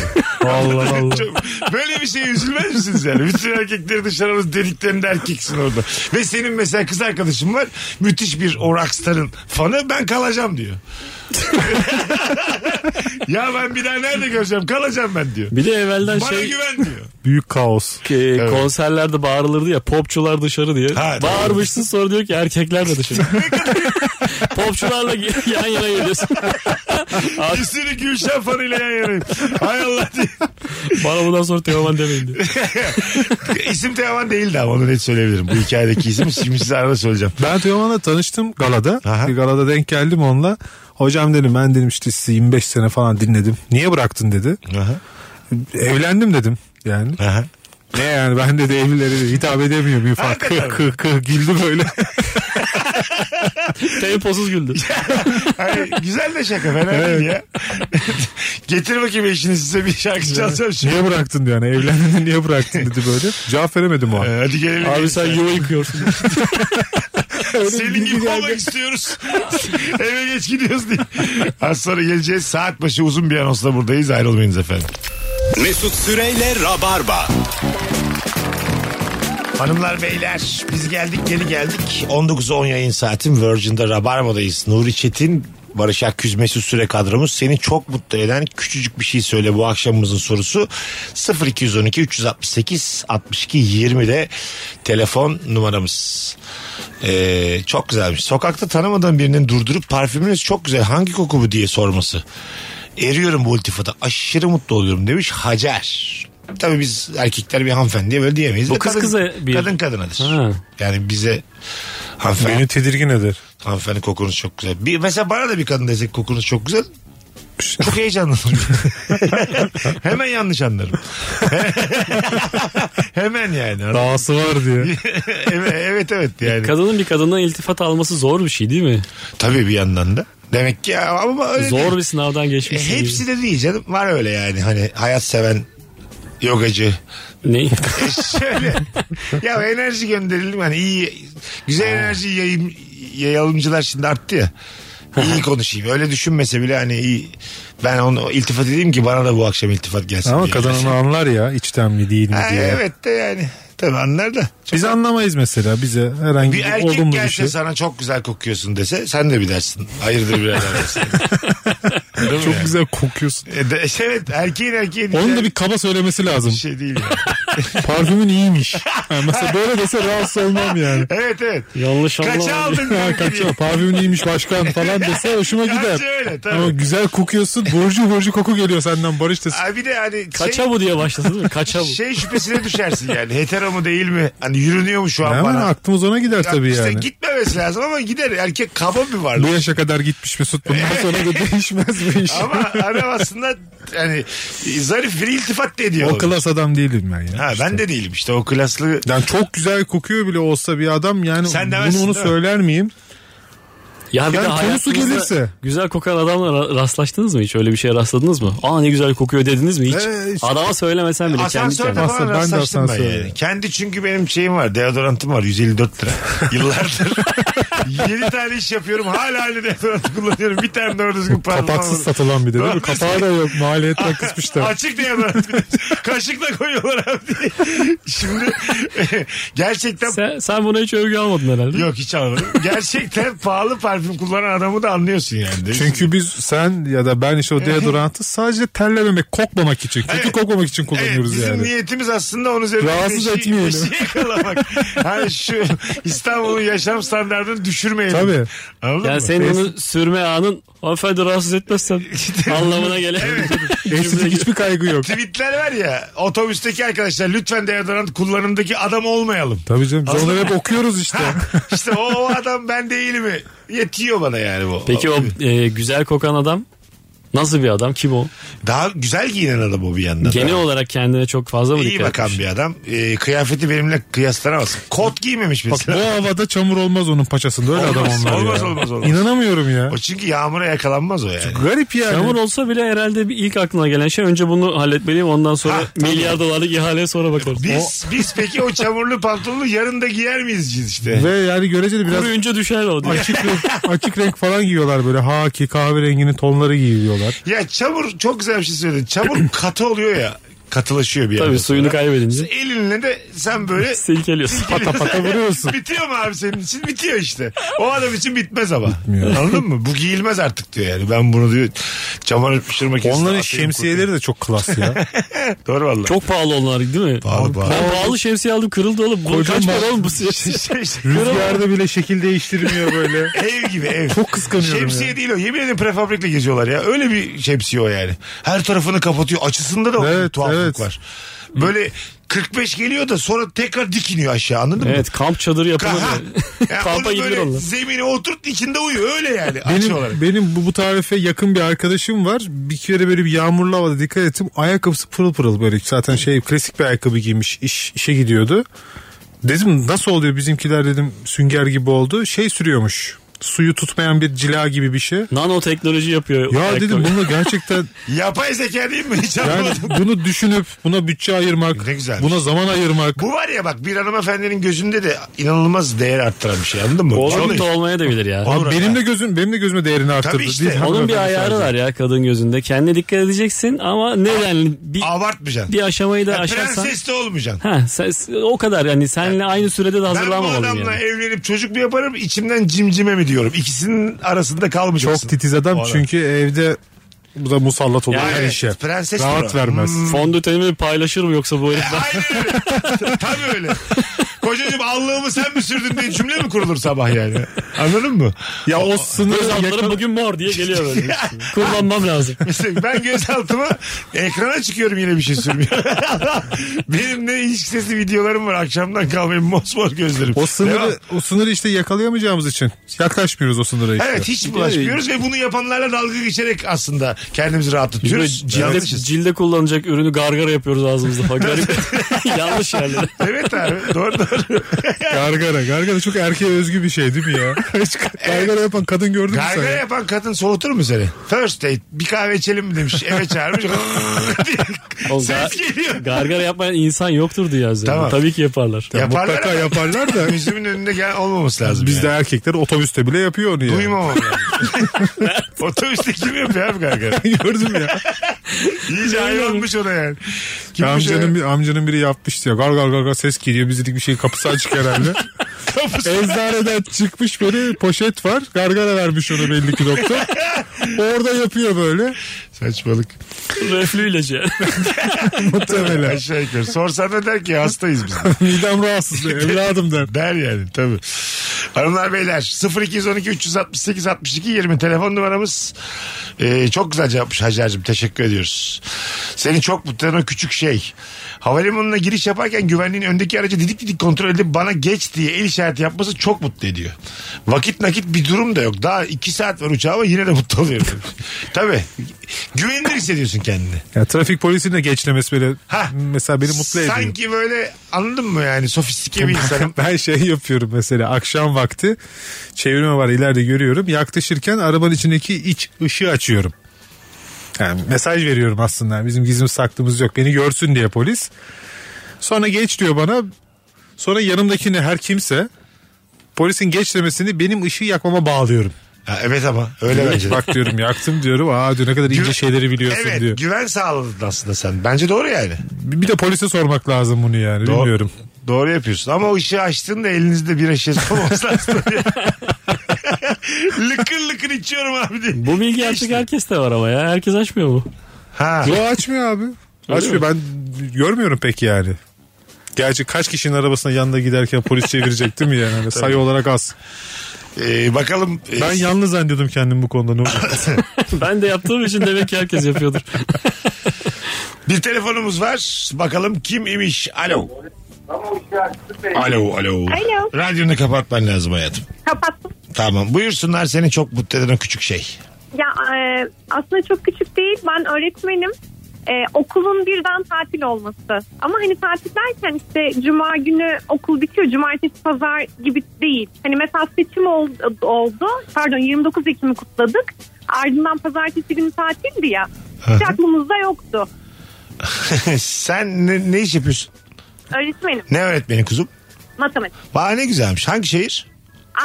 S3: bu.
S5: Allah Allah.
S3: Çok- Böyle bir şey üzülmez misiniz yani? Bütün erkekleri dışarı alıp dediklerinde erkeksin orada. Ve senin mesela kız arkadaşın var. Müthiş bir o rockstar'ın fanı ben kalacağım diyor. ya ben bir daha nerede göreceğim? Kalacağım ben diyor.
S4: Bir de evvelden
S3: Bana
S4: şey
S3: güven diyor.
S5: Büyük kaos.
S4: e, konserlerde bağırılırdı ya popçular dışarı diye.
S3: Ha, doğru.
S4: Bağırmışsın sonra diyor ki erkekler de dışarı. Popçularla yan yana geliyorsun.
S3: Bir sürü Gülşen fanıyla yan yanayım. Hay Allah diye.
S4: Bana bundan sonra Teoman demeyin diyor.
S3: İsim Teoman değildi ama onu net söyleyebilirim. Bu hikayedeki isim şimdi size arada söyleyeceğim.
S5: Ben Teoman'la tanıştım galada.
S3: Aha.
S5: Bir galada denk geldim onunla. Hocam dedim ben dedim işte sizi 25 sene falan dinledim. Niye bıraktın dedi.
S3: Aha.
S5: Evlendim dedim yani.
S3: Aha.
S5: Ne yani ben de evlilere de hitap edemiyorum. Bir fark
S3: Hakikaten.
S5: kıh kıh kıh güldü böyle.
S4: Temposuz güldü.
S3: Hayır, güzel de şaka fena değil ya. Getir bakayım eşini size bir şarkı çalsam şimdi.
S5: niye bıraktın diyor yani evlendin de niye bıraktın dedi böyle. Cevap veremedim o an.
S3: Ee, Hadi gelelim.
S4: Abi sen yuva yıkıyorsun.
S5: Öyle bir
S3: Senin
S5: bilgi
S3: gibi
S5: geldi.
S3: olmak istiyoruz. Eve geç gidiyoruz diye. Az sonra geleceğiz. Saat başı uzun bir anonsla buradayız. Ayrılmayınız efendim.
S2: Mesut Süreyle Rabarba.
S3: Hanımlar beyler biz geldik geri geldik. 19-10 yayın saatin Virgin'de Rabarba'dayız. Nuri Çetin, Barış Akküz, Mesut Süre kadromuz. Seni çok mutlu eden küçücük bir şey söyle bu akşamımızın sorusu. 0212 368 62 20'de telefon numaramız. Ee, çok güzelmiş. Sokakta tanımadığın birinin durdurup parfümünüz çok güzel hangi koku bu diye sorması. Eriyorum bu iltifata aşırı mutlu oluyorum demiş Hacer. Tabii biz erkekler bir hanımefendiye böyle diyemeyiz.
S4: Bu
S3: de
S4: kız
S3: kadın-
S4: kıza bir-
S3: Kadın kadınadır.
S4: Ha.
S3: Yani bize hanımefendi,
S5: Beni tedirgin eder.
S3: hanımefendi kokunuz çok güzel. Bir, mesela bana da bir kadın desek kokunuz çok güzel. Çok heyecanlanırım. Hemen yanlış anlarım. Hemen yani.
S5: Dahası var diye.
S3: evet, evet evet yani.
S4: Kadının bir kadından iltifat alması zor bir şey değil mi?
S3: Tabii bir yandan da. Demek ki ama öyle
S4: Zor bir sınavdan
S3: E,
S5: şey.
S4: geçmişsin.
S3: hepsi de değil canım. Var öyle yani hani hayat seven yogacı.
S4: gibi. Ne?
S3: Şöyle. ya enerji gönderelim hani iyi güzel enerji yayın yayalımcılar şimdi arttı ya. İyi konuşayım. Öyle düşünmese bile hani iyi. Ben onu iltifat edeyim ki bana da bu akşam iltifat gelsin.
S5: Ama
S3: diye.
S5: kadın onu anlar ya içten mi değil mi
S3: Ha,
S5: diye.
S3: evet de yani. Tabii anlar da.
S5: Biz anlamayız mesela bize herhangi
S3: Bir
S5: bir
S3: erkek
S5: olumlu bir
S3: gelse
S5: şey.
S3: sana çok güzel kokuyorsun dese sen de bilersin. Hayırdır birader dersin. Değil mi
S5: Çok
S3: yani?
S5: güzel kokuyorsun.
S3: E, de- evet erkeğin erkeğe
S5: Onun da
S3: diyeceği
S5: bir kaba söylemesi lazım.
S3: bir şey değil. yani.
S5: Parfümün iyiymiş. Ha, mesela böyle dese rahatsız olmam yani.
S3: evet evet.
S4: Yanlış
S3: Kaça
S4: anlama.
S3: aldın?
S5: Ha, kaçıyor. Parfümün iyiymiş başkan falan dese hoşuma gider.
S3: Kaça öyle
S5: Ama
S3: tabii.
S5: güzel kokuyorsun. Borcu borcu koku geliyor senden Barış desin.
S3: Abi bir de hani şey,
S4: Kaça bu diye başlasın değil mi? Kaça bu?
S3: şey şüphesine düşersin yani. Hetero mu değil mi? Hani yürünüyor mu şu an
S5: Hemen
S3: bana?
S5: aklımız ona gider
S3: Ya
S5: tabii
S3: işte
S5: yani.
S3: gitmemesi lazım ama gider. Erkek kaba bir
S5: Bu
S3: varlık.
S5: yaşa kadar gitmiş Mesut. Bundan sonra da değişmez bu iş.
S3: ama adam aslında hani zarif bir iltifat da ediyor.
S5: O klas adam değilim ben ya.
S3: Ha, ben de değilim işte o klaslı.
S5: Yani çok güzel kokuyor bile olsa bir adam yani
S3: Sen demezsin,
S5: bunu onu
S3: değil mi?
S5: söyler miyim?
S4: Ya bir
S5: Yani
S4: de
S5: konusu
S4: hayatınızda
S5: gelirse.
S4: Güzel kokan adamla ra- rastlaştınız mı hiç? Öyle bir şeye rastladınız mı? Aa ne güzel kokuyor dediniz mi hiç?
S5: Ee, işte-
S4: Adama söylemesen bile kendi
S3: Asansörde
S4: kendine.
S5: Asansör, ben
S3: falan
S5: de
S3: rastlaştım ben,
S5: asansörde.
S3: yani. Kendi çünkü benim şeyim var. Deodorantım var. 154 lira. Yıllardır. 7 tane iş yapıyorum. Hala aynı deodorant kullanıyorum. Bir tane doğru düzgün parfüm
S5: Kapaksız
S3: almadım.
S5: satılan bir de değil mi?
S3: Doğru.
S5: Kapağı da yok. Maliyetten kısmışlar.
S3: Açık deodorant. bir de. Kaşıkla koyuyorlar abi diye. Şimdi gerçekten
S4: Sen, sen buna hiç övgü almadın herhalde.
S3: Yok hiç anlamadım. Gerçekten pahalı parfüm kullanan adamı da anlıyorsun yani.
S5: Çünkü biz sen ya da ben işte o deodorantı sadece terlememek, kokmamak için, kötü
S3: Evet.
S5: kokmamak için kullanıyoruz
S3: bizim
S5: yani.
S3: niyetimiz aslında onun üzerine
S5: Rahatsız
S3: bir şey, bir
S5: etmeyelim.
S3: şey yakalamak. hani şu İstanbul'un yaşam standartını düşürmeyelim.
S5: Tabii.
S3: Anladın
S4: Yani
S3: mı?
S4: senin bunu sürme anın hanımefendi rahatsız etmezsen anlamına gelen.
S5: Estetik hiçbir kaygı yok.
S3: Tweetler var ya otobüsteki arkadaşlar lütfen deodorant kullanımdaki adam olmayalım.
S5: Tabii canım. Biz onları hep okuyoruz işte.
S3: İşte o, o adam ben değil mi? Yetiyor bana yani bu.
S4: Peki o e, güzel kokan adam nasıl bir adam? Kim o?
S3: Daha güzel giyinen adam o bir yandan.
S4: Genel olarak kendine çok fazla mı
S3: İyi
S4: dikkat
S3: bakan
S4: etmiş?
S3: bir adam. Ee, kıyafeti benimle kıyaslanamaz. Kot giymemiş
S5: Bak bu
S3: mesela.
S5: havada çamur olmaz onun paçasında.
S3: Olmaz,
S5: Öyle adam onlar
S3: olmaz,
S5: ya.
S3: olmaz, olmaz.
S5: İnanamıyorum ya.
S3: O çünkü yağmura yakalanmaz o yani.
S5: Garip yani.
S4: Çamur olsa bile herhalde bir ilk aklına gelen şey önce bunu halletmeliyim ondan sonra
S3: Ha, tabii.
S4: milyar dolarlık ihaleye sonra bakarız.
S3: Biz biz peki o çamurlu pantolonu yarın da giyer miyiz biz işte?
S5: Ve yani göreceli
S4: O
S5: biraz
S4: kuruyunca düşer o diye.
S5: açık renk, açık renk falan giyiyorlar böyle. Haki kahverenginin tonları giyiyorlar.
S3: Ya çamur çok güzel bir şey söyledin. Çamur katı oluyor ya. Katılaşıyor bir yerden
S4: Tabii suyunu
S3: sonra.
S4: kaybedince
S3: Elinle de sen böyle
S4: silkeliyorsun.
S5: Pata pata vuruyorsun.
S3: bitiyor mu abi senin için? Bitiyor işte. O adam için bitmez ama.
S5: Bitmiyor.
S3: Anladın mı? Bu giyilmez artık diyor yani. Ben bunu diyor çamur pişirme kesin.
S5: Onların şemsiyeleri de çok klas ya.
S3: Doğru valla.
S4: Çok pahalı onlar değil mi?
S3: Pahalı, pahalı.
S4: Ben pahalı şemsiye aldım kırıldı oğlum. Bu
S5: Kocaman.
S4: kaç para oğlum bu şemsiye?
S3: Şey, şey,
S5: Rüzgarda bile şekil değiştirmiyor böyle.
S3: ev gibi ev.
S5: Çok kıskanıyorum
S3: Şemsiye
S5: ya.
S3: değil o. Yemin ederim prefabrikle geziyorlar ya. Öyle bir şemsiye o yani. Her tarafını kapatıyor. Açısında da o
S5: Evet,
S3: tuhaflık
S5: evet.
S3: var. Böyle 45 geliyor da sonra tekrar dikiniyor aşağı anladın mı?
S4: Evet kamp çadırı yapılır.
S3: Aha.
S4: ya.
S3: Ya
S4: Kampa
S3: onu
S4: gidilir
S3: böyle
S4: onlar.
S3: zemine oturt içinde uyu öyle yani açı olarak.
S5: Benim, benim bu, bu tarife yakın bir arkadaşım var. Bir kere böyle bir yağmurlu havada dikkat ettim. Ayakkabısı pırıl pırıl böyle. Zaten şey klasik bir ayakkabı giymiş. İş, işe gidiyordu. Dedim nasıl oluyor bizimkiler dedim sünger gibi oldu. Şey sürüyormuş. suyu tutmayan bir cila gibi bir şey.
S4: Nanoteknoloji yapıyor.
S5: Ya dedim
S4: ayakkabı.
S5: bunu gerçekten
S3: Yapay zeka değil mi? Hiç
S5: yani
S3: anlamadım.
S5: bunu düşünüp buna bütçe ayırmak,
S3: Ne güzelmiş.
S5: buna zaman ayırmak.
S3: Bu var ya bak bir hanımefendinin gözünde de inanılmaz değer arttıran bir şey anladın mı?
S4: Çok
S3: Vallahi.
S4: da olmaya da bilir ya.
S5: Abi
S3: Olur
S5: benim
S3: abi.
S5: de gözüm benim de gözüme değerini arttırdı.
S3: işte.
S5: Değil mi?
S4: Onun bir
S5: Hanımefendi
S4: ayarı
S5: sadece.
S4: var ya kadın gözünde. Kendine dikkat edeceksin ama neden bir,
S3: Abartmayacaksın.
S4: bir aşamayı da
S3: Ya
S4: aşarsan.
S3: Prenses de olmayacaksın.
S4: Ha, sen- o kadar yani seninle aynı sürede de
S3: Ben bu
S4: hazırlanmamalıyım
S3: adamla
S4: yani.
S3: evlenip çocuk mu yaparım içimden cimcime mi diyorum. İkisinin arasında
S5: Çok
S3: kalmayacaksın.
S5: titiz adam
S3: Vallahi.
S5: çünkü evde bu da musallat olur
S4: Yani
S5: her
S3: evet,
S5: işe.
S3: prenses
S5: Rahat
S3: bu.
S5: vermez.
S4: Fondötenimi paylaşır mı yoksa bu herif?
S3: Aynen öyle. Tabii öyle. Kocacığım allığımı sen mi sürdün diye cümle mi kurulur sabah yani? Anladın mı?
S5: Ya o
S4: Göz
S5: sınırı
S4: altları
S5: yakala-
S4: bugün mor diye geliyor böyle. Kullanmam lazım.
S3: İşte ben gözaltıma ekrana çıkıyorum yine bir şey sürmüyor. Benim ne ilişkisi videolarım var akşamdan kalmayın mosmor gözlerim.
S5: o
S3: Devam.
S5: sınırı o sınırı işte yakalayamayacağımız için yaklaşmıyoruz o sınıra işte.
S3: Evet hiç bulaşmıyoruz ve bunu yapanlarla dalga geçerek aslında kendimizi
S4: Böyle
S3: rahatlatıyoruz.
S4: cilde,
S3: Yanlışız.
S4: cilde kullanacak ürünü gargara yapıyoruz ağzımızda. falan. Garip. Yanlış yerlere.
S3: Evet abi doğru doğru.
S5: Gargara. Gargara çok erkeğe özgü bir şey değil mi ya? Hiç gargara yapan kadın gördün mü sen?
S3: Gargara
S5: ya?
S3: yapan kadın soğutur mu seni? First date bir kahve içelim mi demiş eve çağırmış.
S4: Oğlum,
S3: Ses
S4: gar-
S3: geliyor.
S4: gargara yapmayan insan yoktur dünya üzerinde.
S3: Tamam.
S4: Tabii ki yaparlar.
S3: Yaparlar
S5: Mutlaka
S3: ama-
S5: yaparlar da
S3: Gözümün önünde gel olmaması lazım.
S5: bizde
S3: yani.
S5: erkekler otobüste bile yapıyor onu ya.
S3: Duymamam lazım. Otobüste kim yapıyor abi gargara?
S5: Gördüm ya.
S3: İyice hayvanmış ona yani. Kimmiş
S5: amcanın,
S3: amcanın
S5: bir, amcanın biri yapmıştı ya. Gar gar gar gar ses geliyor. Bizlik bir şey kapısı açık herhalde.
S3: kapısı.
S5: Eczaneden çıkmış böyle poşet var. Gargara vermiş ona belli ki doktor. Orada yapıyor böyle.
S3: Saçmalık.
S4: Reflü ilacı.
S5: Muhtemelen.
S3: Aşağı yukarı. Sorsan da der ki hastayız biz.
S5: Midem rahatsız. Evladım der.
S3: Der yani tabii. Hanımlar beyler 0212 368 62 20 telefon numaramız. Ee, çok güzel cevapmış Hacer'cim teşekkür ediyoruz. Seni çok mutlu eden o küçük şey. Havalimanına giriş yaparken güvenliğin öndeki aracı didik didik kontrol edip bana geç diye el işareti yapması çok mutlu ediyor. Vakit nakit bir durum da yok. Daha iki saat var uçağa ama yine de mutlu oluyorum. tabii. Güvenilir hissediyorsun kendini.
S5: Ya trafik polisinin de geçlemesi böyle.
S3: Ha.
S5: Mesela beni mutlu ediyor.
S3: Sanki böyle anladın mı yani sofistike bir insanım.
S5: ben şey yapıyorum mesela akşam vakti çevirme var ileride görüyorum yaklaşırken arabanın içindeki iç ışığı açıyorum. Yani mesaj veriyorum aslında bizim gizlim saklımız yok beni görsün diye polis. Sonra geç diyor bana sonra yanımdakini her kimse polisin geç demesini benim ışığı yakmama bağlıyorum.
S3: Ha, evet ama öyle bence. de.
S5: Bak diyorum yaktım diyorum aa diyor ne kadar ince
S3: Güven-
S5: şeyleri biliyorsun
S3: evet,
S5: diyor.
S3: güven sağladın aslında sen. Bence doğru yani.
S5: Bir de polise sormak lazım bunu yani
S3: Doğ-
S5: bilmiyorum.
S3: Doğru yapıyorsun. Ama o ışığı açtın da elinizde bir şişesi olması lazım. lıkır lıkır içiyorum abi diye.
S4: Bu bilgi artık
S3: İşte.
S4: herkeste var ama ya. Herkes açmıyor mu?
S3: Ha.
S5: Yo açmıyor abi. açmıyor. Ben görmüyorum pek yani. Gerçi kaç kişinin arabasına yanında giderken polis çevirecek değil mi yani? Hani sayı olarak az.
S3: Ee, bakalım. Ee,
S5: Ben yalnız zannediyordum kendim bu konuda. Ne oldu?
S4: Ben de yaptığım için demek ki herkes yapıyordur.
S3: bir telefonumuz var. Bakalım kim imiş? Alo. Alo, alo.
S9: Alo.
S3: Radyonu kapatman lazım hayatım.
S9: Kapattım.
S3: Tamam. Buyursunlar seni çok mutlu eden o küçük şey.
S9: Ya e, aslında çok küçük değil. Ben öğretmenim. E, okulun birden tatil olması. Ama hani tatil derken işte cuma günü okul bitiyor. Cumartesi pazar gibi değil. Hani mesela seçim ol- oldu. Pardon 29 Ekim'i kutladık. Ardından pazartesi günü tatildi ya. Hiç aklımızda yoktu.
S3: Sen ne, ne iş yapıyorsun?
S9: Öğretmenim
S3: Ne öğretmeni kuzum?
S9: matematik
S3: Vay ne güzelmiş. Hangi şehir?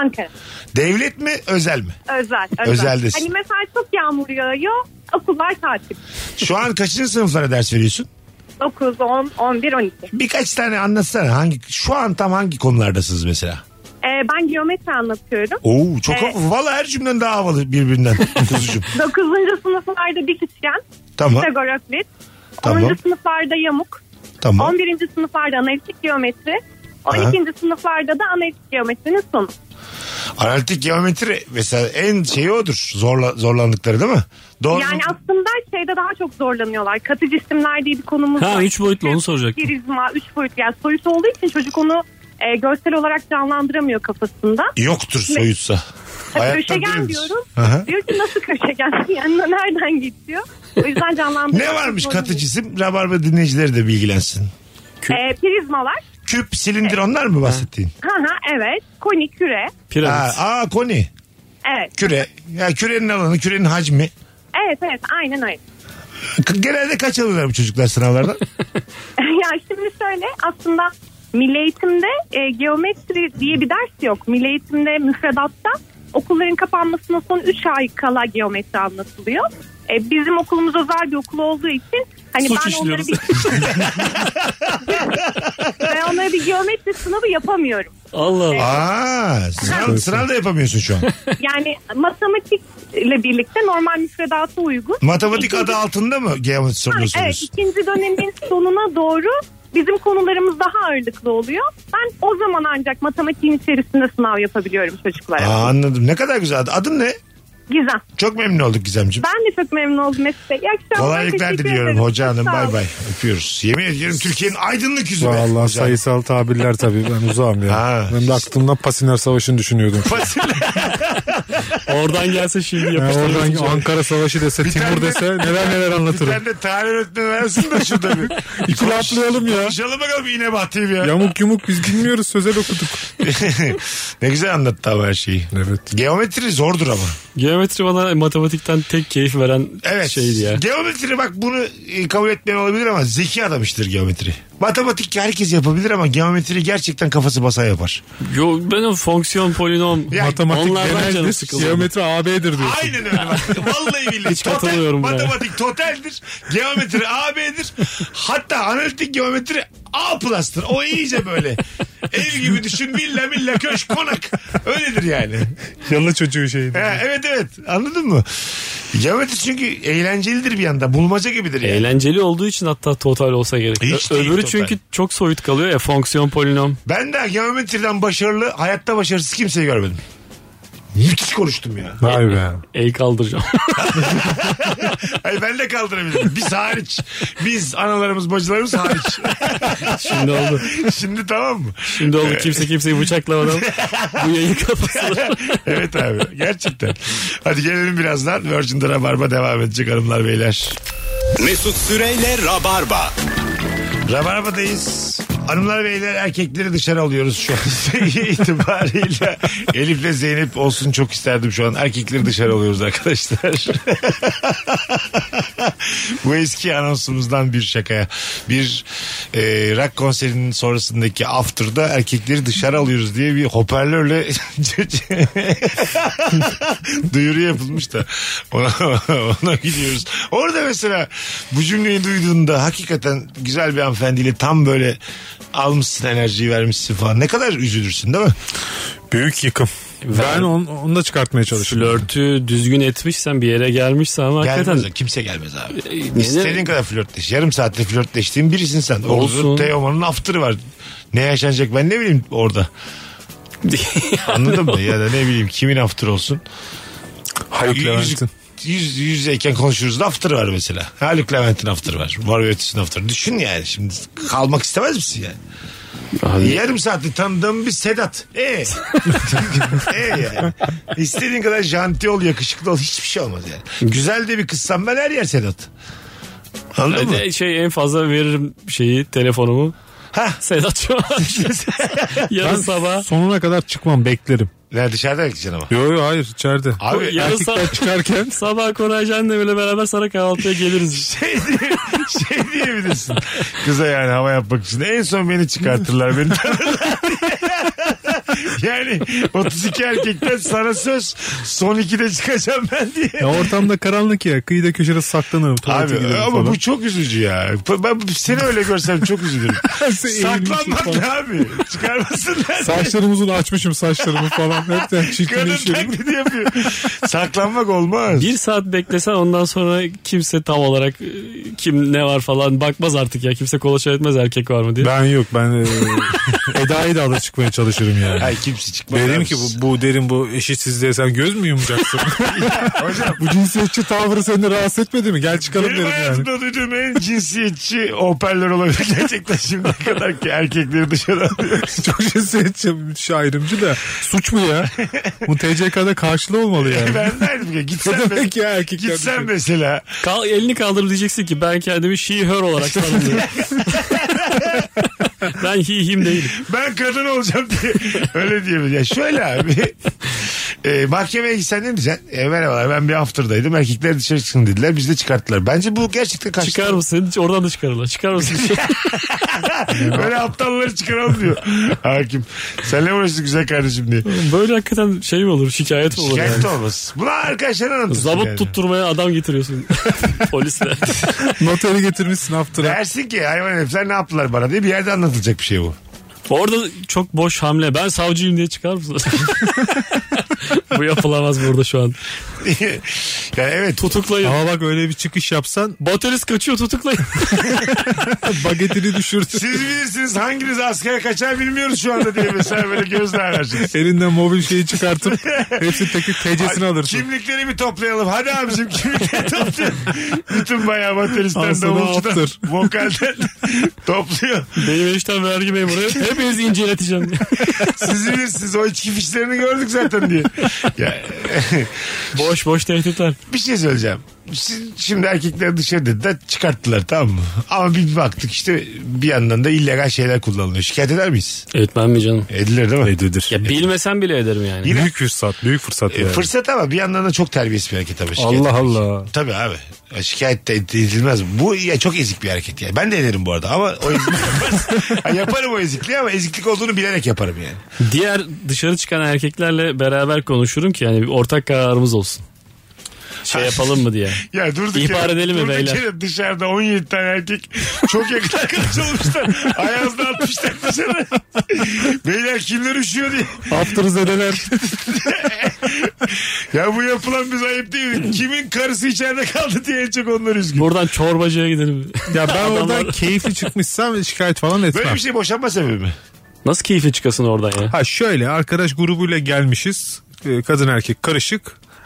S9: Ankara.
S3: Devlet mi özel mi?
S9: Özel. Özel.
S3: Özeldesin.
S9: Hani mesela çok yağmur yağıyor. Okullar tatil.
S3: Şu an kaçıncı sınıflara ders veriyorsun?
S9: 9, 10, 11, 12.
S3: Birkaç tane anlatsana. Hangi şu an tam hangi konulardasınız mesela?
S9: E, ben geometri anlatıyorum.
S3: Oo çok
S9: Evet.
S3: havalı. Valla her cümlen daha havalı birbirinden. Kuzucuğum.
S9: 9. sınıflarda dikişken,
S3: Tamam.
S9: Pisagor öklit.
S3: Tamam.
S9: 10. sınıflarda yamuk.
S3: Tamam.
S9: 11. sınıflarda analitik geometri. 12. sınıflarda da analitik geometrinin sonu.
S3: Analitik geometri mesela en şeyi odur. Zorla, zorlandıkları değil mi? Doğru.
S9: Yani aslında şeyde daha çok zorlanıyorlar. Katı cisimler diye bir konumuz
S4: Ha,
S9: var.
S4: üç boyutlu, onu soracaktım.
S9: Prizma, üç boyutlu. Yani soyut olduğu için çocuk onu e, görsel olarak canlandıramıyor kafasında.
S3: Yoktur soyutsa. Hayatta
S9: köşegen
S3: değildir.
S9: diyorum.
S3: Aha.
S9: Diyor ki nasıl köşegen? Yani nereden gidiyor? O yüzden canlandıramıyor.
S3: Ne varmış katı cisim? Rabarba dinleyicileri de bilgilensin.
S9: E, prizmalar.
S3: Küp, silindir onlar mı bahsettiğin?
S9: Ha ha evet. Konik küre.
S4: Piramit.
S3: Ha, aa koni.
S9: Evet.
S3: Küre. Ya kürenin alanı, kürenin hacmi.
S9: Evet evet aynen öyle.
S3: Genelde kaç alıyorlar bu çocuklar sınavlardan?
S9: ya şimdi şöyle aslında milli eğitimde e, geometri diye bir ders yok. Milli eğitimde müfredatta okulların kapanmasına son 3 ay kala geometri anlatılıyor. E, bizim okulumuz özel bir okul olduğu için hani
S4: Suç
S9: ben onları
S4: işliyoruz.
S9: bir ben onlara bir geometri sınavı yapamıyorum.
S4: Allah Allah.
S3: Aa, sınav, sınav da yapamıyorsun şu an.
S9: Yani matematikle birlikte normal müfredata uygun.
S3: Matematik adı altında mı geometri
S9: Ha,
S3: soruları
S9: evet
S3: soruyorsun?
S9: ikinci dönemin sonuna doğru bizim konularımız daha ağırlıklı oluyor. Ben o zaman ancak matematiğin içerisinde sınav yapabiliyorum çocuklara.
S3: Aa, anladım. Ne kadar güzel. adı. Adın ne?
S9: Gizem.
S3: Çok memnun olduk Gizemciğim.
S9: Ben de çok memnun oldum Mesut Bey. İyi akşamlar.
S3: Kolaylıklar
S9: teşekkür
S3: diliyorum
S9: ederim.
S3: hoca hanım.
S9: Sağ
S3: Bay
S9: olun.
S3: bay. Öpüyoruz. Yemin ediyorum Türkiye'nin aydınlık yüzü. be.
S5: Vallahi
S3: Hoca.
S5: sayısal tabirler tabii ben uzağım ya.
S3: Ha.
S5: Benim de aklımda Pasinler Savaşı'nı düşünüyordum.
S4: Oradan gelse şimdi
S5: Yani oradan
S4: yapıştırırız.
S5: Ankara Savaşı dese Timur dese neler neler
S3: Bir
S5: anlatırım.
S3: tane de tarih öğretmeni versin de şurada bir.
S5: İki laflayalım ya.
S3: Konuşalım bakalım iğne bahtiyim ya.
S5: Yamuk yumuk biz bilmiyoruz sözel okuduk.
S3: ne güzel anlattı ama her şeyi.
S5: Evet.
S3: Geometri zordur ama.
S4: Geometri bana matematikten tek keyif veren
S3: Evet.
S4: şeydi ya.
S3: Geometri bak bunu e, kabul etmeyen olabilir ama zeki adam iştir geometri. Matematik herkes yapabilir ama geometri gerçekten kafası basa yapar.
S4: Yo, ben o fonksiyon, polinom,
S3: Ya,
S5: Matematik
S4: Onlardan canım
S5: genel
S4: sıkıldı.
S5: geometri AB'dir diyorsun.
S3: Aynen öyle bak. Vallahi billahi.
S4: Hiç katılmıyorum buna.
S3: Matematik totaldir. Geometri AB'dir. Hatta analitik geometri A plus'tır. O iyice böyle. Ev gibi düşün. Villa milla köşk konak. Öyledir yani.
S5: Yalı çocuğu şeydi.
S3: Ha, evet evet. Anladın mı? Geometri çünkü eğlencelidir bir yanda. Bulmaca gibidir yani.
S4: Eğlenceli olduğu için hatta total olsa gerek.
S3: Hiç
S4: Ö-
S3: değil
S4: Öbürü
S3: total.
S4: çünkü çok soyut kalıyor ya fonksiyon, polinom.
S3: Ben de geometriden başarılı, hayatta başarısız kimseyi görmedim. Müthiş konuştum ya.
S5: Vay be.
S4: El kaldıracağım.
S3: Hayır, ben de kaldırabilirim. Biz hariç. Biz analarımız bacılarımız hariç.
S4: Şimdi oldu.
S3: Şimdi tamam mı?
S4: Şimdi oldu kimse kimseyi bıçaklamadan bu yayın kafasına.
S3: evet abi gerçekten. Hadi gelelim birazdan. Virgin'de Rabarba devam edecek hanımlar beyler.
S2: Mesut Süreyle Rabarba.
S3: Rabarba'dayız. Hanımlar beyler erkekleri dışarı alıyoruz şu an itibariyle. Elif'le Zeynep olsun çok isterdim şu an. Erkekleri dışarı alıyoruz arkadaşlar. Bu eski anonsumuzdan bir şakaya. Bir e, rock konserinin sonrasındaki after'da erkekleri dışarı alıyoruz diye bir hoparlörle duyuru yapılmış da ona, ona gidiyoruz. Orada mesela bu cümleyi duyduğunda hakikaten güzel bir hanımefendiyle tam böyle almışsın enerjiyi vermişsin falan. Ne kadar üzülürsün değil mi?
S5: Büyük yıkım. Ben onu, onu da çıkartmaya çalışıyorum.
S4: Flörtü düzgün etmişsen bir yere gelmişse ama
S3: Gelmez.
S4: hakikaten
S3: Kimse gelmez abi.
S4: neden-
S3: İstediğin kadar flörtleş. Yarım saatte flörtleştiğin birisin sen. Orada
S4: Olsun.
S3: Teoman'ın after'ı var. Ne yaşanacak ben ne bileyim orada. Anladın mı? Ya da ne bileyim kimin after olsun.
S5: Haluk
S3: Yüz,
S5: Levent'in.
S3: yüz, yüzdeyken konuşuruz. After var mesela. Haluk Levent'in after var. Var ötesinin after. Düşün yani şimdi. Kalmak istemez misin yani? Yarım saatlik tanıdığım bir Sedat. E. e yani. İstediğin kadar janti ol, yakışıklı ol. Hiçbir şey olmaz yani. Güzel de bir kızsam ben her yer Sedat. Anladın mı?
S4: Hadi şey en fazla veririm şeyi telefonumu.
S3: Ha.
S4: Sedat şu an. yarın sabah.
S5: Sonuna kadar çıkmam beklerim.
S3: Ne dışarıda erkeksin ama.
S5: Yo yo hayır içeride.
S3: Abi
S4: Bu yarın
S5: Erkekler
S4: sabah.
S5: çıkarken
S4: Sabah Koray Candemir'le beraber sana kahvaltıya geliriz.
S3: şey, diye- şey diyebilirsin. Kıza yani hava yapmak için en son beni çıkartırlar beni tanırlar diye. Yani 32 erkekten sana söz son ikide çıkacağım ben diye.
S5: ya ortamda karanlık ya kıyıda köşede saklanırım. tuvalete
S3: Abi
S5: giderim
S3: ama
S5: falan.
S3: bu çok üzücü ya. Ben seni öyle görsem çok üzülürüm. Saklanmak ne abi? Çıkarmasınlar.
S5: Saçlarımı uzun açmışım saçlarımı falan. Hepten
S3: Kadın
S5: çirkinleşiyorum.
S3: taklidi yapıyor. Saklanmak olmaz.
S4: Bir saat beklesen ondan sonra kimse tam olarak e, kim ne var falan bakmaz artık ya. Kimse kolaçan etmez erkek var mı diye.
S5: Ben yok ben e, Eda'yı da alır çıkmaya çalışırım yani.
S3: Ay kimse çıkmaz.
S5: Derim ki bu, bu derin bu eşitsizliğe sen göz mü yumacaksın? bu cinsiyetçi tavrı seni rahatsız etmedi mi? Gel çıkalım
S3: Benim
S5: derim yani.
S3: hayatımda duyduğum en cinsiyetçi hoparlör olabilir. Gerçekten şimdiye kadar ki erkekleri dışarı alıyoruz.
S5: Çok cinsiyetçi şairimci de suç mu ya? Bu TCK'da karşılığı olmalı yani.
S3: ben derdim ki gitsen,
S5: Ne demek
S3: mes-
S5: ya erkekler
S3: gitsen
S5: dışarı?
S3: mesela.
S4: Kal, elini kaldırıp diyeceksin ki ben kendimi she her olarak tanımlıyorum. ben he him değilim.
S3: Ben kadın olacağım diye. Öyle diyebilir. Ya şöyle abi. E, mahkemeye gitsen ne diyeceksin? E, merhabalar ben bir haftırdaydım. Erkekler dışarı çıksın dediler. Biz de çıkarttılar. Bence bu gerçekten karşı.
S4: Çıkar mısın? Oradan da çıkarırlar. Çıkar mısın?
S3: Böyle aptalları çıkaralım diyor. Hakim. Senle uğraştık güzel kardeşim diye.
S4: Böyle hakikaten şey mi olur? Şikayet mi olur?
S3: Şikayet
S4: yani?
S3: de olmaz. Buna arkadaşlar anlatırsın.
S4: Zabıt
S3: yani.
S4: tutturmaya adam getiriyorsun. Polisle.
S5: Noteri getirmişsin haftıra.
S3: Dersin ki hayvan herifler ne yaptılar bana diye bir yerde anlatılacak bir şey bu.
S4: Orada çok boş hamle. Ben savcıyım diye çıkar mısın? Bu yapılamaz burada şu an.
S3: yani evet.
S4: Tutuklayın.
S5: Ama bak öyle bir çıkış yapsan
S4: Baterist kaçıyor tutuklayın.
S5: bagetini düşürsün.
S3: Siz bilirsiniz hanginiz askere kaçar bilmiyoruz şu anda diye mesela böyle gözle ararsın.
S5: Elinden mobil şeyi çıkartıp hepsini tekrar TC'sini
S3: Ay,
S5: alırsın.
S3: Kimlikleri bir toplayalım. Hadi abicim kimlikleri toplayalım. Bütün bayağı bateristen,
S5: Aslında
S3: davulcudan,
S5: aptır.
S3: vokalden topluyor.
S4: Benim enişten vergi memuru. Hepinizi inceleteceğim.
S3: Siz bilirsiniz o içki fişlerini gördük zaten diye. Ya,
S4: boş boş tehditler.
S3: bir şey söyleyeceğim. Siz- Şimdi erkekler dışarı dediler çıkarttılar tamam mı? Ama bir baktık işte bir yandan da illegal şeyler kullanılıyor. Şikayet eder miyiz?
S4: Evet ben mi canım?
S3: Edilir değil mi?
S5: Edilir.
S4: Ya bilmesen bile ederim yani.
S3: Yine-
S5: Büyük fırsat, büyük fırsat
S3: E,
S5: yani.
S3: Fırsat ama bir yandan da çok terbiyesiz bir hareket tabii. Şikayet
S5: Allah
S3: etmek.
S5: Allah.
S3: Tabii abi. Ya Şikayet de edilmez. Bu ya çok ezik bir hareket yani. Ben de ederim bu arada ama o ezikliği yaparız. Ha, yaparım o ezikliği ama eziklik olduğunu bilerek yaparım yani.
S4: Diğer dışarı çıkan erkeklerle beraber konuşurum ki yani bir ortak kararımız olsun. Şey yapalım mı diye.
S3: Ya durduk
S4: İhbar
S3: yere-
S4: edelim mi
S3: durduk
S4: beyler?
S3: yere dışarıda 17 tane erkek çok yakın arkadaş olmuşlar. Ayazda atmışlar dışarı. beyler kimler üşüyor diye.
S5: Haftırız edeler.
S3: Ya bu yapılan biz ayıp değil mi? Kimin karısı içeride kaldı diye en çok onlar üzgün.
S4: Buradan çorbacıya gidelim.
S5: Ya ben oradan
S4: Adamlar-
S5: keyifli çıkmışsam şikayet falan etmem.
S3: Böyle bir şey boşanma sebebi mi?
S4: Nasıl keyfi çıkasın oradan ya?
S5: Ha şöyle arkadaş grubuyla gelmişiz. Ee, Kadın erkek karışık.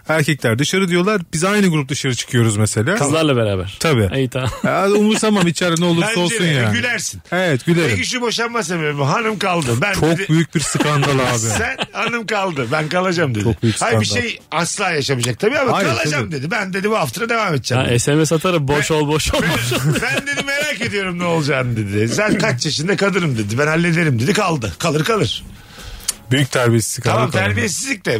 S5: Erkekler dışarı diyorlar. Biz aynı grup dışarı çıkıyoruz mesela.
S4: Kızlarla beraber.
S5: Tabii.
S4: İyi tamam.
S5: Ya, umursamam içeride ne olursa
S3: Bence
S5: olsun
S3: de, e,
S5: yani.
S3: gülersin.
S5: Evet gülerim.
S3: Peki şu boşanma sebebi mi? hanım kaldı. Ben
S5: Çok
S3: dedi-
S5: büyük bir skandal abi.
S3: Sen hanım kaldı. Ben kalacağım dedi.
S5: Çok büyük
S3: Hayır bir
S5: skandal.
S3: şey asla yaşamayacak tabii ama
S5: Hayır,
S3: kalacağım
S5: tabii.
S3: dedi. Ben dedi bu hafta devam edeceğim. dedi.
S4: Ha, SMS atarım boş ol boş ol. boş ol.
S3: ben dedi merak ediyorum ne olacağını dedi. Sen kaç yaşında kadınım dedi. Ben hallederim dedi. Kaldı. Kalır kalır.
S5: büyük terbiyesizlik abi.
S3: tamam
S5: Tamam.
S3: terbiyesizlik de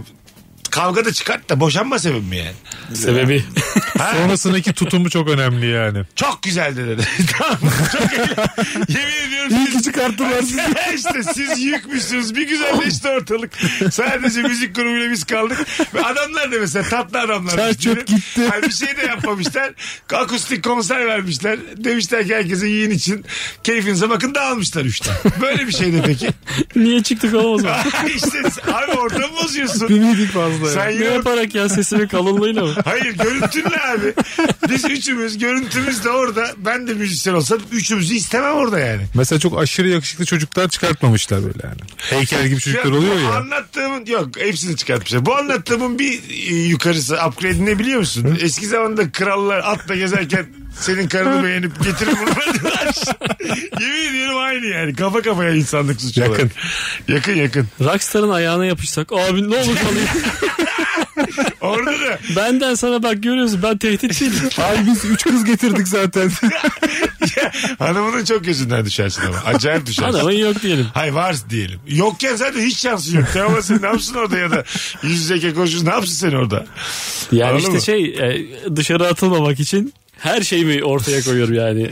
S3: kavga da çıkart da boşanma sebebi mi yani?
S4: Sebebi.
S5: Sonrasındaki tutumu çok önemli yani.
S3: Çok güzel dedi. tamam. Çok eğlen- Yemin ediyorum. İyi ki çıkarttılar sizi. işte siz yükmüşsünüz. Bir güzelleşti ortalık. Sadece müzik grubuyla biz kaldık. Ve adamlar da mesela tatlı adamlar.
S5: Çer
S3: Bizim-
S5: çöp gitti.
S3: Hani bir şey de yapmamışlar. Akustik konser vermişler. Demişler ki herkese yiyin için. Keyfinize bakın dağılmışlar üçten. Böyle bir şey de peki.
S4: Niye çıktık olamaz mı?
S3: işte abi ortamı bozuyorsun.
S5: Bir midik fazla
S3: Sen
S5: yani.
S4: ne
S3: yine
S4: yaparak ya sesimin kalınlığıyla mı?
S3: Hayır görüntünle abi. Biz üçümüz görüntümüz de orada. Ben de müzisyen olsam üçümüzü istemem orada yani.
S5: Mesela çok aşırı yakışıklı çocuklar çıkartmamışlar böyle yani. Heykel gibi çocuklar
S3: Ya,
S5: oluyor
S3: bu
S5: ya.
S3: Anlattığımın yok hepsini çıkartmışlar. Bu anlattığımın bir e, yukarısı upgrade ne biliyor musun? Eski zamanda krallar atla gezerken senin karını beğenip getirir bunu diyorlar. Yemin ediyorum aynı yani. Kafa kafaya insanlık suçu olarak.
S5: Yakın.
S3: Yakın yakın.
S4: Rockstar'ın ayağına yapışsak. Abi ne olur kalayım.
S3: Orada da
S4: Benden sana bak görüyorsun ben tehdit değilim.
S5: Ay biz üç kız getirdik zaten.
S3: hanımının çok gözünden düşersin ama. Acayip düşersin.
S4: Adamın yok diyelim.
S3: Hay var diyelim. Yokken zaten hiç şansın yok. Tamam sen ne yapsın orada ya da yüz yüze koşuyorsun ne yapsın sen orada?
S4: Yani
S3: Anladın
S4: işte
S3: mı?
S4: şey e, dışarı atılmamak için her şeyimi ortaya koyuyorum yani.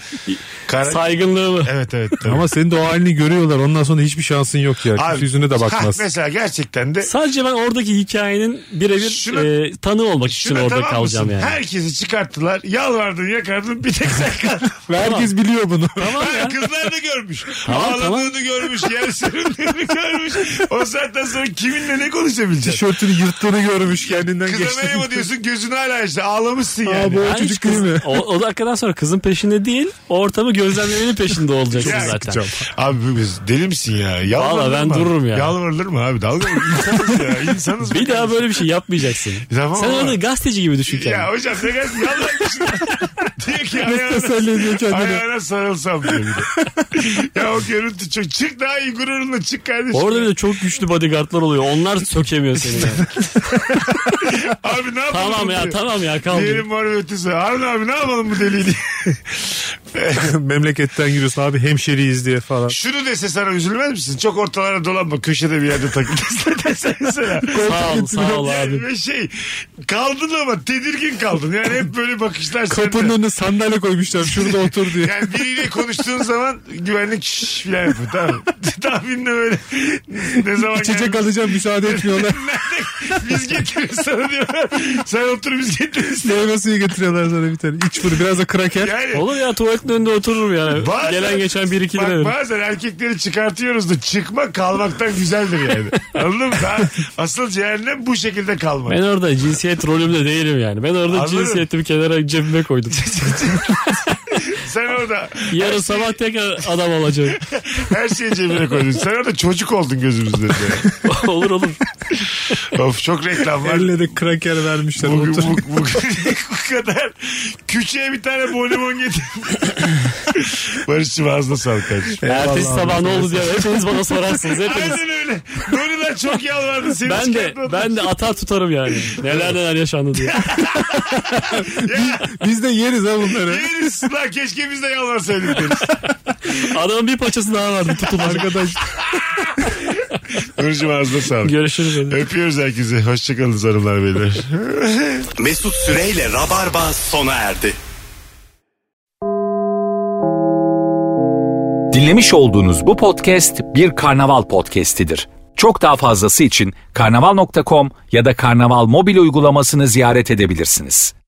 S3: Kara-
S4: Saygınlığımı.
S3: Evet evet. tabii.
S5: Ama senin de o halini görüyorlar. Ondan sonra hiçbir şansın yok ya.
S3: Abi,
S5: Kimse yüzüne de
S3: ha,
S5: bakmaz.
S3: mesela gerçekten de
S4: Sadece ben oradaki hikayenin birebir
S3: Şuna-
S4: e, tanığı olmak için
S3: şuna
S4: orada
S3: tamam
S4: kalacağım
S3: mısın?
S4: yani.
S3: Herkesi çıkarttılar. Yalvardın yakardın bir tek sen kaldın.
S5: Ve herkes biliyor bunu. Tamam.
S3: Ha, Kızlar da görmüş.
S4: Tamam,
S3: Ağladığını görmüş. Yer süründüğünü görmüş. O saatten sonra kiminle ne konuşabileceksin?
S5: Tişörtünü yırttığını görmüş kendinden
S3: Kıza
S5: geçti.
S3: merhaba diyorsun gözün hala işte ağlamışsın
S5: Aa,
S3: yani.
S5: bu o
S4: Ben hiç
S5: çocuk değil
S4: kız-
S5: mi?
S4: O, o dakikadan sonra kızın peşinde değil, ortamı gözlemlemenin peşinde olacaksın
S3: Ya,
S4: zaten.
S3: Abi biz deli misin ya? Yalvarılır
S4: Vallahi ben
S3: mı?
S4: dururum ya.
S3: Yalvarılır mı abi? Dalga mı? İnsanız ya. İnsanız
S4: Bir daha böyle bir şey yapmayacaksın.
S3: Tamam
S4: Sen
S3: ama-
S4: orada gazeteci gibi düşün kendini.
S3: Ya hocam ne gelsin yalvarmışsın. diyor ki ayağına,
S5: teselli ediyor kendini.
S3: ayağına sarılsam diyor bir de. ya o görüntü çok. Çık daha iyi gururunla çık kardeşim.
S4: Orada bir de çok güçlü bodyguardlar oluyor. Onlar sökemiyor seni. yani.
S3: Abi ne yapalım?
S4: tamam ya
S3: diyor.
S4: tamam ya kaldı.
S3: Diyelim var ve ötesi. Harun abi ne yapalım bu deliği diye.
S5: Memleketten giriyorsun abi hemşeriyiz diye falan.
S3: Şunu dese sana üzülmez misin? Çok ortalara dolanma köşede bir yerde takıl dese dese mesela.
S4: sağ ol sağ ol abi.
S3: Ve şey kaldın ama tedirgin kaldın. Yani hep böyle bakışlar sende.
S5: Kapının önüne sandalye koymuşlar şurada otur diye.
S3: Yani biriyle konuştuğun zaman güvenlik şşş filan yapıyor. Tamam. Tahminle böyle ne zaman
S5: İçecek
S3: gelmiş-
S5: alacağım müsaade etmiyorlar.
S3: biz getiririz sana diyorlar. Sen otur biz getiririz.
S5: Meyve suyu getiriyorlar sana bir tane. İç bunu biraz da kraker.
S3: Yani
S4: Olur ya tuvaletin önünde otururum yani.
S3: Bazen-
S4: Gelen geçen bir iki lira
S3: Bak
S4: veririm.
S3: bazen erkekleri çıkartıyoruz da çıkma kalmaktan güzeldir yani. Anladın mı? Daha asıl cehennem bu şekilde kalmak.
S4: Ben orada cinsiyet rolümde değilim yani. Ben orada
S3: Anladım.
S4: cinsiyetimi kenara cebime koydum.
S3: Sen orada
S4: Yarın sabah tekrar adam olacağım.
S3: her şeyi cebine koydun. Sen orada çocuk oldun gözümüzde. Yani.
S4: olur olur.
S3: of çok reklam var.
S5: Elle de kraker vermişler.
S3: Bugün
S5: otur.
S3: bu, bu, bu kadar küçüğe bir tane bonibon getir. Barış'cığım ağzına sağlık kardeşim.
S4: Ertesi sabah ne oldu diye hepiniz bana sorarsınız. Hepiniz.
S3: Aynen öyle. Nuri'den çok yalvardı. Seni
S4: Ben de
S3: çıkartmadı.
S4: ben de atar tutarım yani. Neler neler yaşandı diye.
S3: Ya,
S5: Biz de yeriz ha bunları.
S3: yeriz. Lan keşke biz de yalvarsaydık deriz.
S4: Adamın bir paçası daha vardı tutun arkadaş.
S3: Nuri'cim ağzına sağlık.
S4: Görüşürüz. dedi.
S3: Öpüyoruz herkese. Hoşçakalın hanımlar beyler.
S2: Mesut Süreyle Rabarba sona erdi.
S1: Dinlemiş olduğunuz bu podcast bir karnaval podcastidir. Çok daha fazlası için karnaval.com ya da karnaval mobil uygulamasını ziyaret edebilirsiniz.